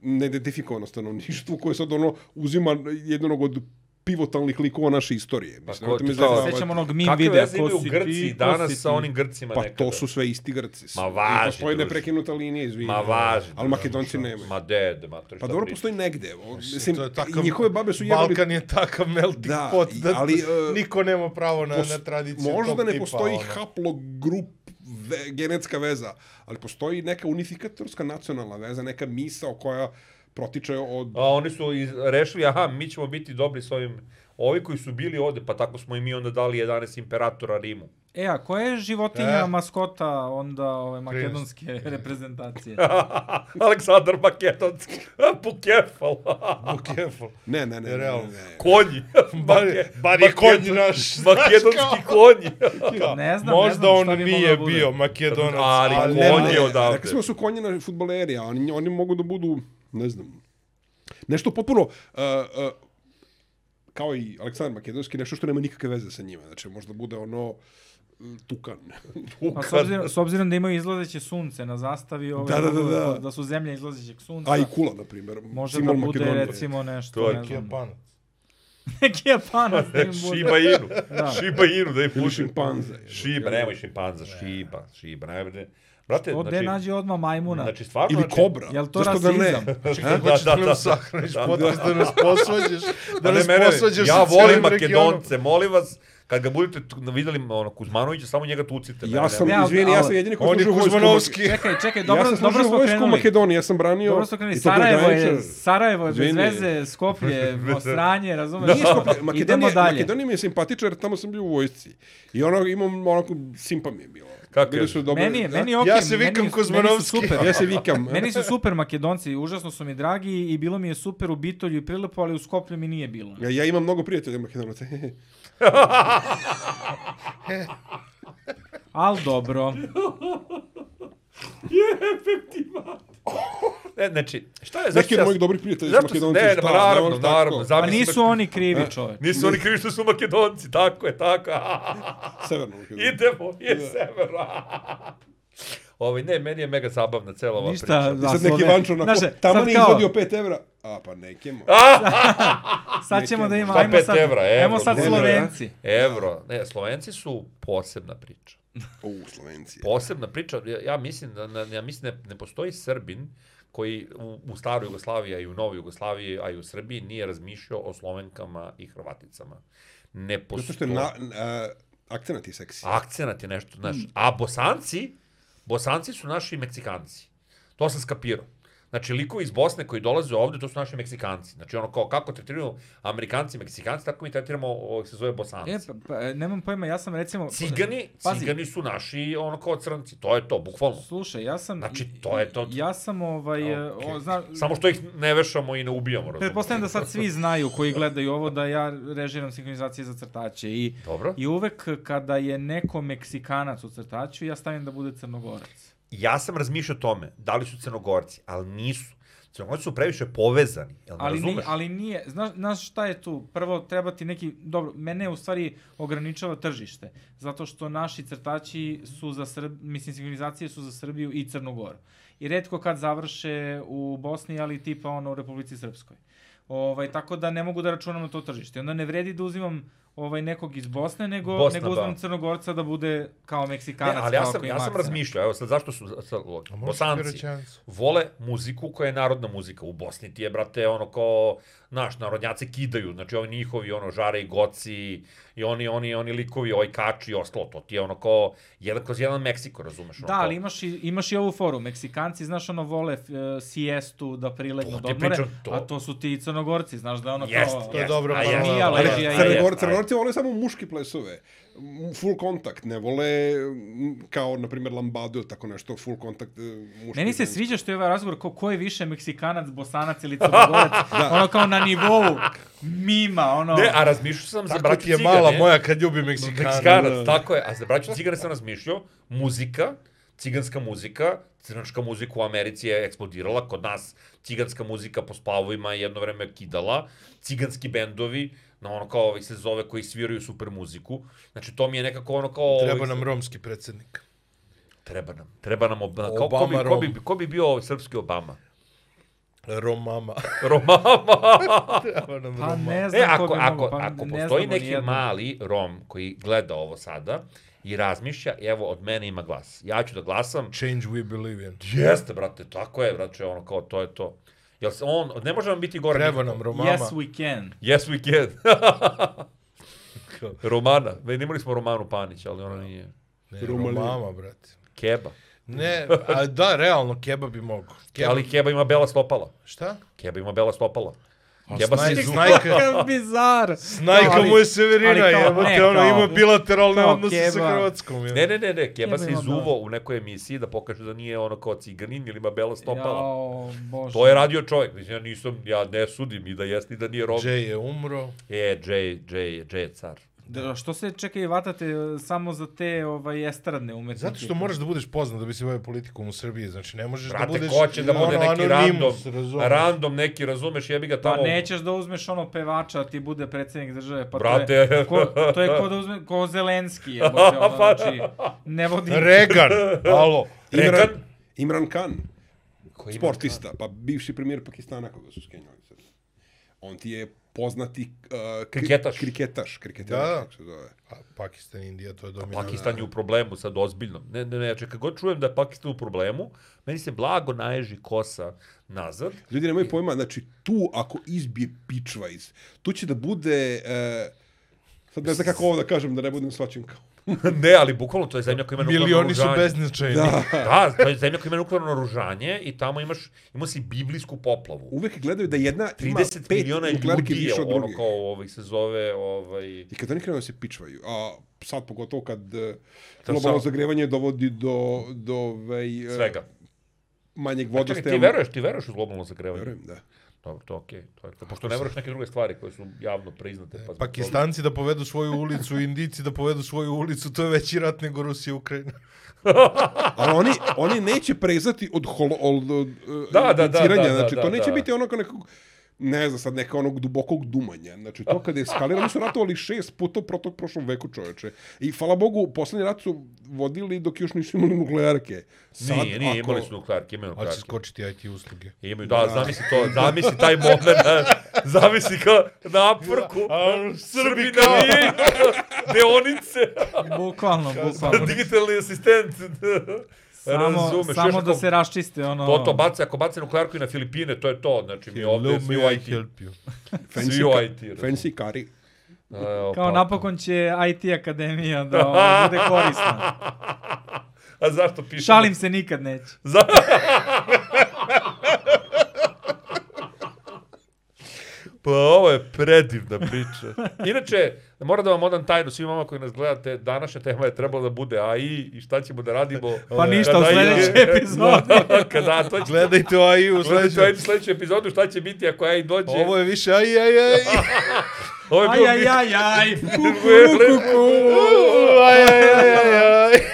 [SPEAKER 3] neidentifikovano stanovništvo koje sad ono uzima jednog od pivotalnih likova naše istorije. Mislim,
[SPEAKER 2] ko
[SPEAKER 3] pa,
[SPEAKER 2] ti
[SPEAKER 3] me
[SPEAKER 2] kao-
[SPEAKER 3] zajebavati.
[SPEAKER 4] Sećam onog meme
[SPEAKER 2] Kakve
[SPEAKER 4] videa,
[SPEAKER 2] veze
[SPEAKER 4] ko
[SPEAKER 2] imaju
[SPEAKER 4] si
[SPEAKER 2] Grci
[SPEAKER 4] ti, ko
[SPEAKER 2] danas
[SPEAKER 4] si
[SPEAKER 2] sa
[SPEAKER 4] ti?
[SPEAKER 2] onim Grcima
[SPEAKER 3] Pa
[SPEAKER 2] nekada?
[SPEAKER 3] to su sve isti Grci.
[SPEAKER 2] Ma važi,
[SPEAKER 3] I postoji
[SPEAKER 2] druže.
[SPEAKER 3] neprekinuta linija, izvini.
[SPEAKER 2] Ma važi,
[SPEAKER 3] Ali Makedonci nemaju.
[SPEAKER 2] Ma dede, ma to je
[SPEAKER 3] Pa
[SPEAKER 2] šta
[SPEAKER 3] dobro,
[SPEAKER 2] pričaš.
[SPEAKER 3] postoji negde. evo. Mislim,
[SPEAKER 1] To je
[SPEAKER 3] i
[SPEAKER 1] takav-
[SPEAKER 3] njihove babe su jebali...
[SPEAKER 1] Balkan je takav melting
[SPEAKER 3] Da,
[SPEAKER 1] pot
[SPEAKER 3] i-
[SPEAKER 1] da
[SPEAKER 3] ali,
[SPEAKER 1] ali,
[SPEAKER 3] e,
[SPEAKER 1] niko nema pravo na,
[SPEAKER 3] Pos-
[SPEAKER 1] na tradiciju
[SPEAKER 3] Možda
[SPEAKER 1] tog
[SPEAKER 3] ne
[SPEAKER 1] tipa,
[SPEAKER 3] postoji
[SPEAKER 1] ono.
[SPEAKER 3] haplogrup ve, genetska veza, ali postoji neka unifikatorska nacionalna veza, neka misao koja protiče od...
[SPEAKER 2] A oni su iz, rešili, aha, mi ćemo biti dobri s ovim, ovi koji su bili ovde, pa tako smo i mi onda dali 11 imperatora Rimu.
[SPEAKER 4] E, a koja je životinja
[SPEAKER 1] E.
[SPEAKER 4] maskota onda ove makedonske reprezentacije?
[SPEAKER 2] Aleksandar Makedonski, Pukefal,
[SPEAKER 1] Bukefal.
[SPEAKER 3] Ne, ne, ne, ne,
[SPEAKER 1] Realno.
[SPEAKER 3] ne, ne.
[SPEAKER 2] konji.
[SPEAKER 1] Bar je- bar je konj naš, znaš,
[SPEAKER 2] Makedonski konji.
[SPEAKER 4] Ne znam, ne
[SPEAKER 1] Možda
[SPEAKER 4] znam šta
[SPEAKER 1] on
[SPEAKER 4] bi
[SPEAKER 1] nije
[SPEAKER 4] mogao da
[SPEAKER 1] bio
[SPEAKER 4] bude.
[SPEAKER 1] makedonac,
[SPEAKER 2] Ali
[SPEAKER 1] ali...
[SPEAKER 2] konj
[SPEAKER 1] nema-
[SPEAKER 2] je odavde.
[SPEAKER 3] Rekli smo da su konji na futboleri, a oni, oni mogu da budu, ne znam, nešto potpuno, uh, uh, kao i Aleksandar Makedonski, nešto što nema nikakve veze sa njima. Znači, možda bude ono mm, tukan.
[SPEAKER 4] A Pa s obzirom, s obzirom da imaju izlazeće sunce na zastavi, ove,
[SPEAKER 3] Da, da, da,
[SPEAKER 4] ove,
[SPEAKER 3] da.
[SPEAKER 4] da su zemlje izlazećeg sunca,
[SPEAKER 3] A i kula, na primjer.
[SPEAKER 4] može
[SPEAKER 3] simbol
[SPEAKER 4] da bude
[SPEAKER 3] Makedonije.
[SPEAKER 4] recimo nešto,
[SPEAKER 2] To je
[SPEAKER 4] ne znam.
[SPEAKER 1] Japanac.
[SPEAKER 4] Kijapana s tim
[SPEAKER 2] Šiba
[SPEAKER 4] bude.
[SPEAKER 2] Inu.
[SPEAKER 4] Da.
[SPEAKER 2] Šiba Inu, da je
[SPEAKER 3] Ili
[SPEAKER 2] pušim.
[SPEAKER 3] šimpanze.
[SPEAKER 2] Šiba, nemoj šimpanza, šiba, šiba, najbolje. Brate,
[SPEAKER 4] Ode
[SPEAKER 2] znači,
[SPEAKER 4] nađe odmah majmuna.
[SPEAKER 2] znači stvarno...
[SPEAKER 3] Ili
[SPEAKER 2] znači,
[SPEAKER 3] kobra.
[SPEAKER 4] Jel to
[SPEAKER 3] Zašto da ne?
[SPEAKER 4] rasizam?
[SPEAKER 1] Čekaj, hoćeš da, nas sahraniš podcast, da, nas posvađaš, da
[SPEAKER 2] Pa ne,
[SPEAKER 1] nas
[SPEAKER 2] mene,
[SPEAKER 1] posvađaš
[SPEAKER 2] ja
[SPEAKER 1] sa
[SPEAKER 2] volim
[SPEAKER 1] cijelim regionom.
[SPEAKER 2] Makedonce, molim vas, kad ga budete tu- videli ono, Kuzmanovića, samo njega tucite. mene,
[SPEAKER 3] Ja sam,
[SPEAKER 2] nema-
[SPEAKER 4] ali-
[SPEAKER 3] izvini, ja sam
[SPEAKER 4] ali-
[SPEAKER 3] jedini koji
[SPEAKER 1] On je
[SPEAKER 3] služio vojsku u Makedoniji.
[SPEAKER 1] Kuzmanovski.
[SPEAKER 4] Čekaj, čekaj,
[SPEAKER 3] Dobro, ja
[SPEAKER 4] dobro,
[SPEAKER 3] sam
[SPEAKER 4] dobro
[SPEAKER 3] služio
[SPEAKER 4] smo
[SPEAKER 3] vojsku u
[SPEAKER 4] krenuli.
[SPEAKER 3] Makedoniji, ja sam branio...
[SPEAKER 4] Dobro smo krenuli.
[SPEAKER 3] i to
[SPEAKER 4] Sarajevo je,
[SPEAKER 3] pograničar.
[SPEAKER 4] Sarajevo je bez
[SPEAKER 3] Izvini.
[SPEAKER 4] veze, Skoplje, Mostranje, razumeš?
[SPEAKER 3] Nije Skopje,
[SPEAKER 4] Idemo
[SPEAKER 3] Makedonija,
[SPEAKER 4] dalje.
[SPEAKER 3] Makedonija mi je simpatična jer tamo sam bio u vojsci. I ono, imam onako, simpa mi je bilo.
[SPEAKER 2] Kako
[SPEAKER 3] Bili
[SPEAKER 2] je?
[SPEAKER 3] su dobre,
[SPEAKER 4] Meni je, meni je
[SPEAKER 1] Ja
[SPEAKER 4] okej.
[SPEAKER 1] se vikam
[SPEAKER 4] meni- Meni su
[SPEAKER 1] Kuzmanovski.
[SPEAKER 4] super.
[SPEAKER 3] Ja se vikam.
[SPEAKER 4] Meni su super Makedonci, užasno su mi dragi i bilo mi je super u Bitolju i Prilepu, ali u Skoplju mi nije bilo.
[SPEAKER 3] Ja, ja imam mnogo prijatelja Makedonaca.
[SPEAKER 4] Al dobro.
[SPEAKER 2] Ne, znači, šta je,
[SPEAKER 3] Neki
[SPEAKER 2] zašto
[SPEAKER 3] od
[SPEAKER 2] ja...
[SPEAKER 3] mojih dobrih prijatelja su
[SPEAKER 2] Zašto,
[SPEAKER 3] Makedonci.
[SPEAKER 2] ne,
[SPEAKER 3] šta,
[SPEAKER 2] ma
[SPEAKER 3] da,
[SPEAKER 2] naravno,
[SPEAKER 3] ono tako.
[SPEAKER 2] naravno,
[SPEAKER 4] Pa
[SPEAKER 2] zamisli
[SPEAKER 4] nisu
[SPEAKER 2] Mak-
[SPEAKER 4] oni krivi, čovek.
[SPEAKER 2] Nisu oni krivi što su Makedonci, tako je, tako.
[SPEAKER 3] Severno Makedonija.
[SPEAKER 2] Idemo, je severa. Ovaj, ne, meni je mega zabavna cela ova
[SPEAKER 4] Ništa,
[SPEAKER 2] priča.
[SPEAKER 4] da.
[SPEAKER 3] Sad neki
[SPEAKER 4] Naslove.
[SPEAKER 3] vančo onako,
[SPEAKER 4] Znaš,
[SPEAKER 3] tamo
[SPEAKER 4] sad
[SPEAKER 3] ne
[SPEAKER 4] kao-
[SPEAKER 3] izvodio 5 evra. A pa neke mo.
[SPEAKER 4] Sad ćemo da ima,
[SPEAKER 2] Šta
[SPEAKER 4] ajmo
[SPEAKER 2] pet
[SPEAKER 4] sad,
[SPEAKER 2] evra, evro,
[SPEAKER 4] ajmo sad
[SPEAKER 2] dobro,
[SPEAKER 4] Slovenci.
[SPEAKER 2] Evro, ne, Slovenci su posebna priča.
[SPEAKER 3] U, Slovenci.
[SPEAKER 2] Posebna priča, ja, ja mislim da da- ja mislim da ne postoji Srbin koji u, u staroj Jugoslaviji, a i u novoj Jugoslaviji, a i u Srbiji nije razmišljao o Slovenkama i Hrvaticama. Ne
[SPEAKER 3] Zato što je
[SPEAKER 2] postoji.
[SPEAKER 3] na, na, akcenat je seksi.
[SPEAKER 2] Akcenat je nešto, znaš.
[SPEAKER 3] Mm.
[SPEAKER 2] A Bosanci, Bosanci su naši Meksikanci. To sam skapirao. Znači, likovi iz Bosne koji dolaze ovde, to su naši Meksikanci. Znači, ono kao kako tretiramo Amerikanci, Meksikanci, tako mi tretiramo, ovog se zove Bosanci.
[SPEAKER 4] E, pa, pa, e, nemam pojma, ja sam
[SPEAKER 3] pa,
[SPEAKER 4] recimo...
[SPEAKER 2] Cigani,
[SPEAKER 4] Pazi.
[SPEAKER 2] cigani su naši ono kao crnci, to je to, bukvalno.
[SPEAKER 4] Slušaj, ja sam...
[SPEAKER 2] Znači, to je to.
[SPEAKER 4] Ja sam ovaj... e, O, zna,
[SPEAKER 2] Samo što ih ne vešamo i ne ubijamo, razumiješ?
[SPEAKER 4] Pretpostavljam da sad svi znaju koji gledaju ovo da ja režiram sinhronizacije za crtače i,
[SPEAKER 2] Dobro.
[SPEAKER 4] i uvek kada je neko Meksikanac u crtaču ja stavim da bude Crnogorac.
[SPEAKER 2] Ja sam razmišljao o tome, da li su crnogorci, ali nisu. Crnogorci su previše povezani, jel me
[SPEAKER 4] Ali, ni,
[SPEAKER 2] razumeš?
[SPEAKER 4] ali nije, znaš, znaš šta je tu? Prvo treba ti neki, dobro, mene u stvari ograničava tržište, zato što naši crtači su za Srb, mislim sinhronizacije su za Srbiju i Crnogoru. I redko kad završe u Bosni, ali tipa ono u Republici Srpskoj. Ovaj, tako da ne mogu da računam na to tržište. Onda ne vredi da uzimam ovaj nekog iz Bosne, nego,
[SPEAKER 2] Bosna,
[SPEAKER 4] nego uzmem
[SPEAKER 2] da.
[SPEAKER 4] Crnogorca da bude kao
[SPEAKER 2] Ne,
[SPEAKER 4] Meksikanac.
[SPEAKER 2] ali ja
[SPEAKER 4] kao
[SPEAKER 2] sam,
[SPEAKER 4] koji
[SPEAKER 2] ja sam
[SPEAKER 4] Marca.
[SPEAKER 2] razmišljao, evo sad zašto su sad,
[SPEAKER 1] A možeš ti
[SPEAKER 2] bosanci
[SPEAKER 1] rečenicu?
[SPEAKER 2] vole muziku koja je narodna muzika. U Bosni ti je, brate, ono kao, naš, narodnjaci kidaju, znači ovi njihovi, ono, žare i goci, i oni, oni, oni likovi, oj kači i ostalo, to ti je ono kao, jedan kroz jedan Meksiko, razumeš? Ono
[SPEAKER 4] Da,
[SPEAKER 2] kao,
[SPEAKER 4] ali imaš i, imaš i ovu foru. Meksikanci, znaš, ono, vole e, siestu da prilegnu
[SPEAKER 2] To
[SPEAKER 4] do
[SPEAKER 2] ti
[SPEAKER 4] odmore,
[SPEAKER 2] pričam, to.
[SPEAKER 4] a to su ti i crnogorci, znaš da je ono
[SPEAKER 2] Jest,
[SPEAKER 4] kao...
[SPEAKER 1] To je pa
[SPEAKER 2] jest,
[SPEAKER 1] dobra
[SPEAKER 2] a jest,
[SPEAKER 1] paralela.
[SPEAKER 2] a
[SPEAKER 4] Ali
[SPEAKER 2] jest,
[SPEAKER 4] ja-
[SPEAKER 2] a
[SPEAKER 4] Crne
[SPEAKER 2] jest,
[SPEAKER 3] Crnogor,
[SPEAKER 2] a
[SPEAKER 3] Crnogorci vole samo muški plesove. M, Full kontakt, ne vole m, kao, na primjer, lambadu ili tako nešto, full kontakt e, muški.
[SPEAKER 4] Meni se
[SPEAKER 3] ženski.
[SPEAKER 4] sviđa što je ovaj razgovor ko, ko je više Meksikanac, Bosanac ili Crnogorac, ono kao na nivou mima, ono...
[SPEAKER 2] Ne, a razmišljao sam za
[SPEAKER 1] Tako
[SPEAKER 2] braću
[SPEAKER 1] ti je
[SPEAKER 2] cigane.
[SPEAKER 1] mala moja kad ljubi Meksikana.
[SPEAKER 2] Meksikanac, tako je. A za braću cigane sam razmišljao, muzika, ciganska muzika, crnačka muzika u Americi je eksplodirala, kod nas ciganska muzika po spavovima je jedno vreme kidala, ciganski bendovi, na ono kao ovih se zove koji sviraju super muziku. Znači to mi je nekako ono kao...
[SPEAKER 1] Treba
[SPEAKER 2] ovih-
[SPEAKER 1] nam romski predsjednik.
[SPEAKER 2] Treba nam. Treba nam Obama. Kao, ko, bi,
[SPEAKER 1] Obama
[SPEAKER 2] ko, bi, ko bi bio ovaj srpski Obama?
[SPEAKER 1] Romama.
[SPEAKER 2] Romama!
[SPEAKER 1] Treba nam
[SPEAKER 4] Pa
[SPEAKER 1] Romama.
[SPEAKER 4] ne
[SPEAKER 2] E,
[SPEAKER 4] znam ko
[SPEAKER 2] ako,
[SPEAKER 4] bi
[SPEAKER 2] ako,
[SPEAKER 4] mogao, pa
[SPEAKER 2] ako
[SPEAKER 4] ne
[SPEAKER 2] postoji
[SPEAKER 4] znamo
[SPEAKER 2] neki
[SPEAKER 4] nijednog.
[SPEAKER 2] mali Rom koji gleda ovo sada i razmišlja, evo, od mene ima glas. Ja ću da glasam.
[SPEAKER 1] Change we believe in.
[SPEAKER 2] Jeste, brate, tako je, brate, ono kao, to je to. Jel se on, ne može nam biti gore.
[SPEAKER 1] Treba
[SPEAKER 2] nikako.
[SPEAKER 1] nam Romama.
[SPEAKER 4] Yes, we can.
[SPEAKER 2] Yes, we can. Romana. Već imali smo Romanu Panić, ali ona nije.
[SPEAKER 1] Ne,
[SPEAKER 3] Romali.
[SPEAKER 1] Romama, brate.
[SPEAKER 2] Keba.
[SPEAKER 1] Ne, a da, realno, keba bi mogo. Keba,
[SPEAKER 2] Ali Keba ima bela stopala.
[SPEAKER 1] šta?
[SPEAKER 2] Keba ima bela stopala.
[SPEAKER 1] A
[SPEAKER 2] Jeba
[SPEAKER 1] snaj-
[SPEAKER 2] si ti
[SPEAKER 1] snajka,
[SPEAKER 4] Kakav bizar.
[SPEAKER 1] snajka
[SPEAKER 4] Ali-
[SPEAKER 1] mu je Severina,
[SPEAKER 4] ali kao-
[SPEAKER 1] jebate,
[SPEAKER 4] ne,
[SPEAKER 1] ono,
[SPEAKER 4] kao-
[SPEAKER 1] ima bilateralne
[SPEAKER 4] kao
[SPEAKER 1] odnose sa
[SPEAKER 4] keba.
[SPEAKER 1] Hrvatskom.
[SPEAKER 2] Ne,
[SPEAKER 1] Je.
[SPEAKER 2] ne, ne, ne, Keba
[SPEAKER 4] Jebe
[SPEAKER 2] se
[SPEAKER 4] vam
[SPEAKER 2] izuvo u nekoj emisiji da pokaže da nije ono kao ciganin ili ima bela stopala.
[SPEAKER 4] Jao, bože.
[SPEAKER 2] To je radio čovjek, mislim, ja nisam, ja ne sudim i da jeste i da nije rob.
[SPEAKER 1] Jay je umro.
[SPEAKER 2] E, Jay, Jay, Jay je car.
[SPEAKER 4] Da, što se čeka i vatate e, samo za te ovaj, estradne umetnike?
[SPEAKER 1] Zato što moraš da budeš poznat da bi se bavio politikom u Srbiji, znači ne možeš da
[SPEAKER 2] Brate,
[SPEAKER 1] budeš
[SPEAKER 2] ko će da bude
[SPEAKER 1] ono,
[SPEAKER 2] neki random,
[SPEAKER 1] anonimus, razumeš?
[SPEAKER 2] random neki, razumeš, jebi ga
[SPEAKER 4] Pa
[SPEAKER 2] tamo.
[SPEAKER 4] nećeš da uzmeš ono pevača, a ti bude predsjednik države. Pa
[SPEAKER 2] Brate.
[SPEAKER 4] To je, ko, to je ko da uzme, ko Zelenski, jebote, ono,
[SPEAKER 2] Pa.
[SPEAKER 4] znači, ne vodi.
[SPEAKER 1] Regan, alo.
[SPEAKER 3] Imran,
[SPEAKER 2] Rekan?
[SPEAKER 3] Imran Khan,
[SPEAKER 2] Koji ima-
[SPEAKER 3] sportista, pa bivši premijer Pakistana koga su skenjali sad. On ti je poznati uh,
[SPEAKER 2] Kriketaš.
[SPEAKER 3] kriketaš, kriketaš,
[SPEAKER 1] Da, da.
[SPEAKER 3] kako se zove.
[SPEAKER 1] A Pakistan, Indija, to je dominantno.
[SPEAKER 2] Pakistan je u problemu sad ozbiljno. Ne, ne, ne, čekaj, god čujem da je Pakistan u problemu, meni se blago naježi kosa nazad.
[SPEAKER 3] Ljudi nemaju pojma, znači tu ako izbije pičva iz, tu će da bude, uh, sad ne znam kako ovo da kažem, da ne budem svačen kao.
[SPEAKER 2] ne, ali bukvalno to je zemlja koja ima nuklearno
[SPEAKER 1] Milioni su
[SPEAKER 2] oružanje.
[SPEAKER 1] beznačajni.
[SPEAKER 2] da, to je zemlja koja ima nuklearno oružanje i tamo imaš, imao si biblijsku poplavu.
[SPEAKER 3] Uvek gledaju da jedna ima
[SPEAKER 2] 30
[SPEAKER 3] pet
[SPEAKER 2] miliona
[SPEAKER 3] nuklearki
[SPEAKER 2] ljudi je
[SPEAKER 3] više od
[SPEAKER 2] ono
[SPEAKER 3] druge.
[SPEAKER 2] kao ovaj, se zove ovaj,
[SPEAKER 3] I kad oni krenu da se pičvaju, a sad pogotovo kad e,
[SPEAKER 2] To
[SPEAKER 3] globalno
[SPEAKER 2] sam-
[SPEAKER 3] zagrevanje dovodi do, do ovaj, e,
[SPEAKER 2] svega.
[SPEAKER 3] manjeg
[SPEAKER 2] Čekaj,
[SPEAKER 3] vodostaja.
[SPEAKER 2] ti veruješ, ti veruješ u globalno zagrevanje?
[SPEAKER 3] Verujem, da.
[SPEAKER 2] Dobro, to je okej. To je, to, pošto ne veruješ neke druge stvari koje su javno priznate. Pa zbog
[SPEAKER 1] Pakistanci da povedu svoju ulicu, Indici da povedu svoju ulicu, to je veći rat nego Rusija i Ukrajina.
[SPEAKER 3] Ali oni, oni neće prezati od, holo, od, od
[SPEAKER 2] Da, da, da, da, da,
[SPEAKER 3] znači
[SPEAKER 2] da,
[SPEAKER 3] to neće
[SPEAKER 2] da.
[SPEAKER 3] biti ono kao nekog, ne znam sad, neka onog dubokog dumanja. Znači to kada je eskalira, oni su ratovali šest puta u protok prošlom veku čoveče. I hvala Bogu, poslednji rat su vodili dok još nisu imali nuklearke.
[SPEAKER 2] toga. Nije, nije, imali su nuklearke, imaju
[SPEAKER 1] Ali će
[SPEAKER 2] nuklearke.
[SPEAKER 1] skočiti IT usluge.
[SPEAKER 2] Imaju, da, zamisli to, zamisli taj moment, zamisli kao na apvrku, Srbina nije deonice,
[SPEAKER 4] Bukvalno, bukvalno.
[SPEAKER 2] digitalni asistent.
[SPEAKER 4] Pa, Samo,
[SPEAKER 2] razumeš, još
[SPEAKER 4] samo
[SPEAKER 2] ako-
[SPEAKER 4] da se raščiste, ono...
[SPEAKER 2] To to baca, ako baca nuklearku i na Filipine, to je to, znači mi ovdje
[SPEAKER 1] Hello,
[SPEAKER 2] svi
[SPEAKER 1] may
[SPEAKER 2] u
[SPEAKER 1] I
[SPEAKER 2] IT.
[SPEAKER 1] help you?
[SPEAKER 2] Svi u IT. razumeš.
[SPEAKER 3] Fancy curry.
[SPEAKER 2] Evo,
[SPEAKER 4] Kao
[SPEAKER 2] pa.
[SPEAKER 4] napokon će IT akademija da ovaj, bude korisna.
[SPEAKER 2] A zašto pišemo?
[SPEAKER 4] Šalim se, nikad neće.
[SPEAKER 2] Za... pa ovo je predivna priča. Inače, moram da vam odam tajnu svim vama koji nas gledate. Današnja tema je trebala da bude AI i šta ćemo da radimo. eh,
[SPEAKER 4] Pa ništa, u
[SPEAKER 2] Kada
[SPEAKER 4] sljedećoj
[SPEAKER 2] je-
[SPEAKER 4] epizodi.
[SPEAKER 2] kada to će...
[SPEAKER 1] Gledajte o AI u
[SPEAKER 2] Gledajte
[SPEAKER 1] sledećem.
[SPEAKER 2] ovaj sljedeću epizodu šta će biti ako AI dođe.
[SPEAKER 1] Ovo je više AI, AI, AI.
[SPEAKER 2] Ovo je
[SPEAKER 4] Aj,
[SPEAKER 2] bio
[SPEAKER 4] aj, aj, aj.
[SPEAKER 1] Aj, aj, aj, aj, aj.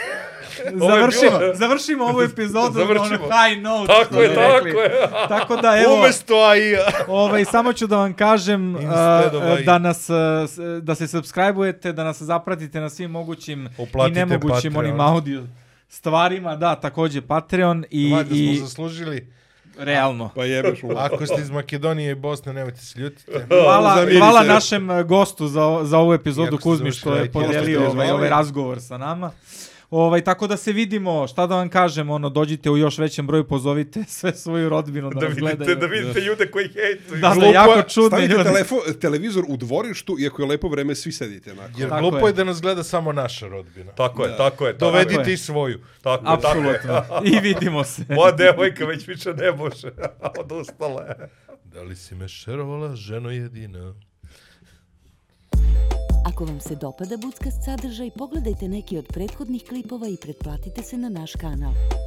[SPEAKER 2] Ovo je
[SPEAKER 4] Završimo,
[SPEAKER 2] bilo-
[SPEAKER 4] završimo ovu epizodu na
[SPEAKER 2] Završimo.
[SPEAKER 4] ono high note.
[SPEAKER 2] Tako
[SPEAKER 4] što
[SPEAKER 2] je,
[SPEAKER 4] bi
[SPEAKER 2] tako
[SPEAKER 4] rekli.
[SPEAKER 2] je.
[SPEAKER 4] Tako da, evo,
[SPEAKER 1] Umesto AI-a.
[SPEAKER 4] ovaj, samo ću da vam kažem uh,
[SPEAKER 1] Instead of AI.
[SPEAKER 4] da nas, uh, s- da se subscribe-ujete, da nas zapratite na svim mogućim
[SPEAKER 1] Uplatite
[SPEAKER 4] i nemogućim
[SPEAKER 1] Patreon.
[SPEAKER 4] onim audio stvarima, da, takođe Patreon i,
[SPEAKER 1] Valjda
[SPEAKER 4] i
[SPEAKER 1] smo zaslužili.
[SPEAKER 4] realno.
[SPEAKER 3] Pa jebeš mu.
[SPEAKER 1] Ako ste iz Makedonije i Bosne, nemojte se ljutiti.
[SPEAKER 4] Hvala,
[SPEAKER 3] Zamirite.
[SPEAKER 4] hvala našem e, gostu za, o- za ovu epizodu
[SPEAKER 1] Iako ste
[SPEAKER 4] Kuzmi
[SPEAKER 1] završili
[SPEAKER 4] što je
[SPEAKER 1] raditi,
[SPEAKER 3] jeste
[SPEAKER 4] podelio
[SPEAKER 3] ste
[SPEAKER 4] ovaj,
[SPEAKER 3] zvali.
[SPEAKER 4] ovaj razgovor sa nama. Ovaj, tako da se vidimo, šta da vam kažem, ono, dođite u još većem broju, pozovite sve svoju rodbinu da,
[SPEAKER 2] Da
[SPEAKER 4] nas
[SPEAKER 2] vidite,
[SPEAKER 4] gledaju.
[SPEAKER 2] da vidite ljude koji hejtuju.
[SPEAKER 4] Da, da,
[SPEAKER 1] Glupo
[SPEAKER 4] jako
[SPEAKER 1] je,
[SPEAKER 4] čudni
[SPEAKER 3] Stavite
[SPEAKER 4] ljudi.
[SPEAKER 3] telefon, televizor u dvorištu i ako je lepo vreme, svi sedite onako.
[SPEAKER 1] Jer
[SPEAKER 4] Tako
[SPEAKER 1] glupo
[SPEAKER 4] je.
[SPEAKER 1] je da nas gleda samo naša rodbina.
[SPEAKER 2] Tako je, tako je. Tako je,
[SPEAKER 1] Dovedite i svoju.
[SPEAKER 2] tako je. Tako je.
[SPEAKER 4] Apsolutno. I vidimo se.
[SPEAKER 2] Moja devojka već više ne može. Odustala je.
[SPEAKER 1] Da li si me šerovala, ženo jedina?
[SPEAKER 5] Ako vam se dopada Budskast sadržaj, pogledajte neki od prethodnih klipova i pretplatite se na naš kanal.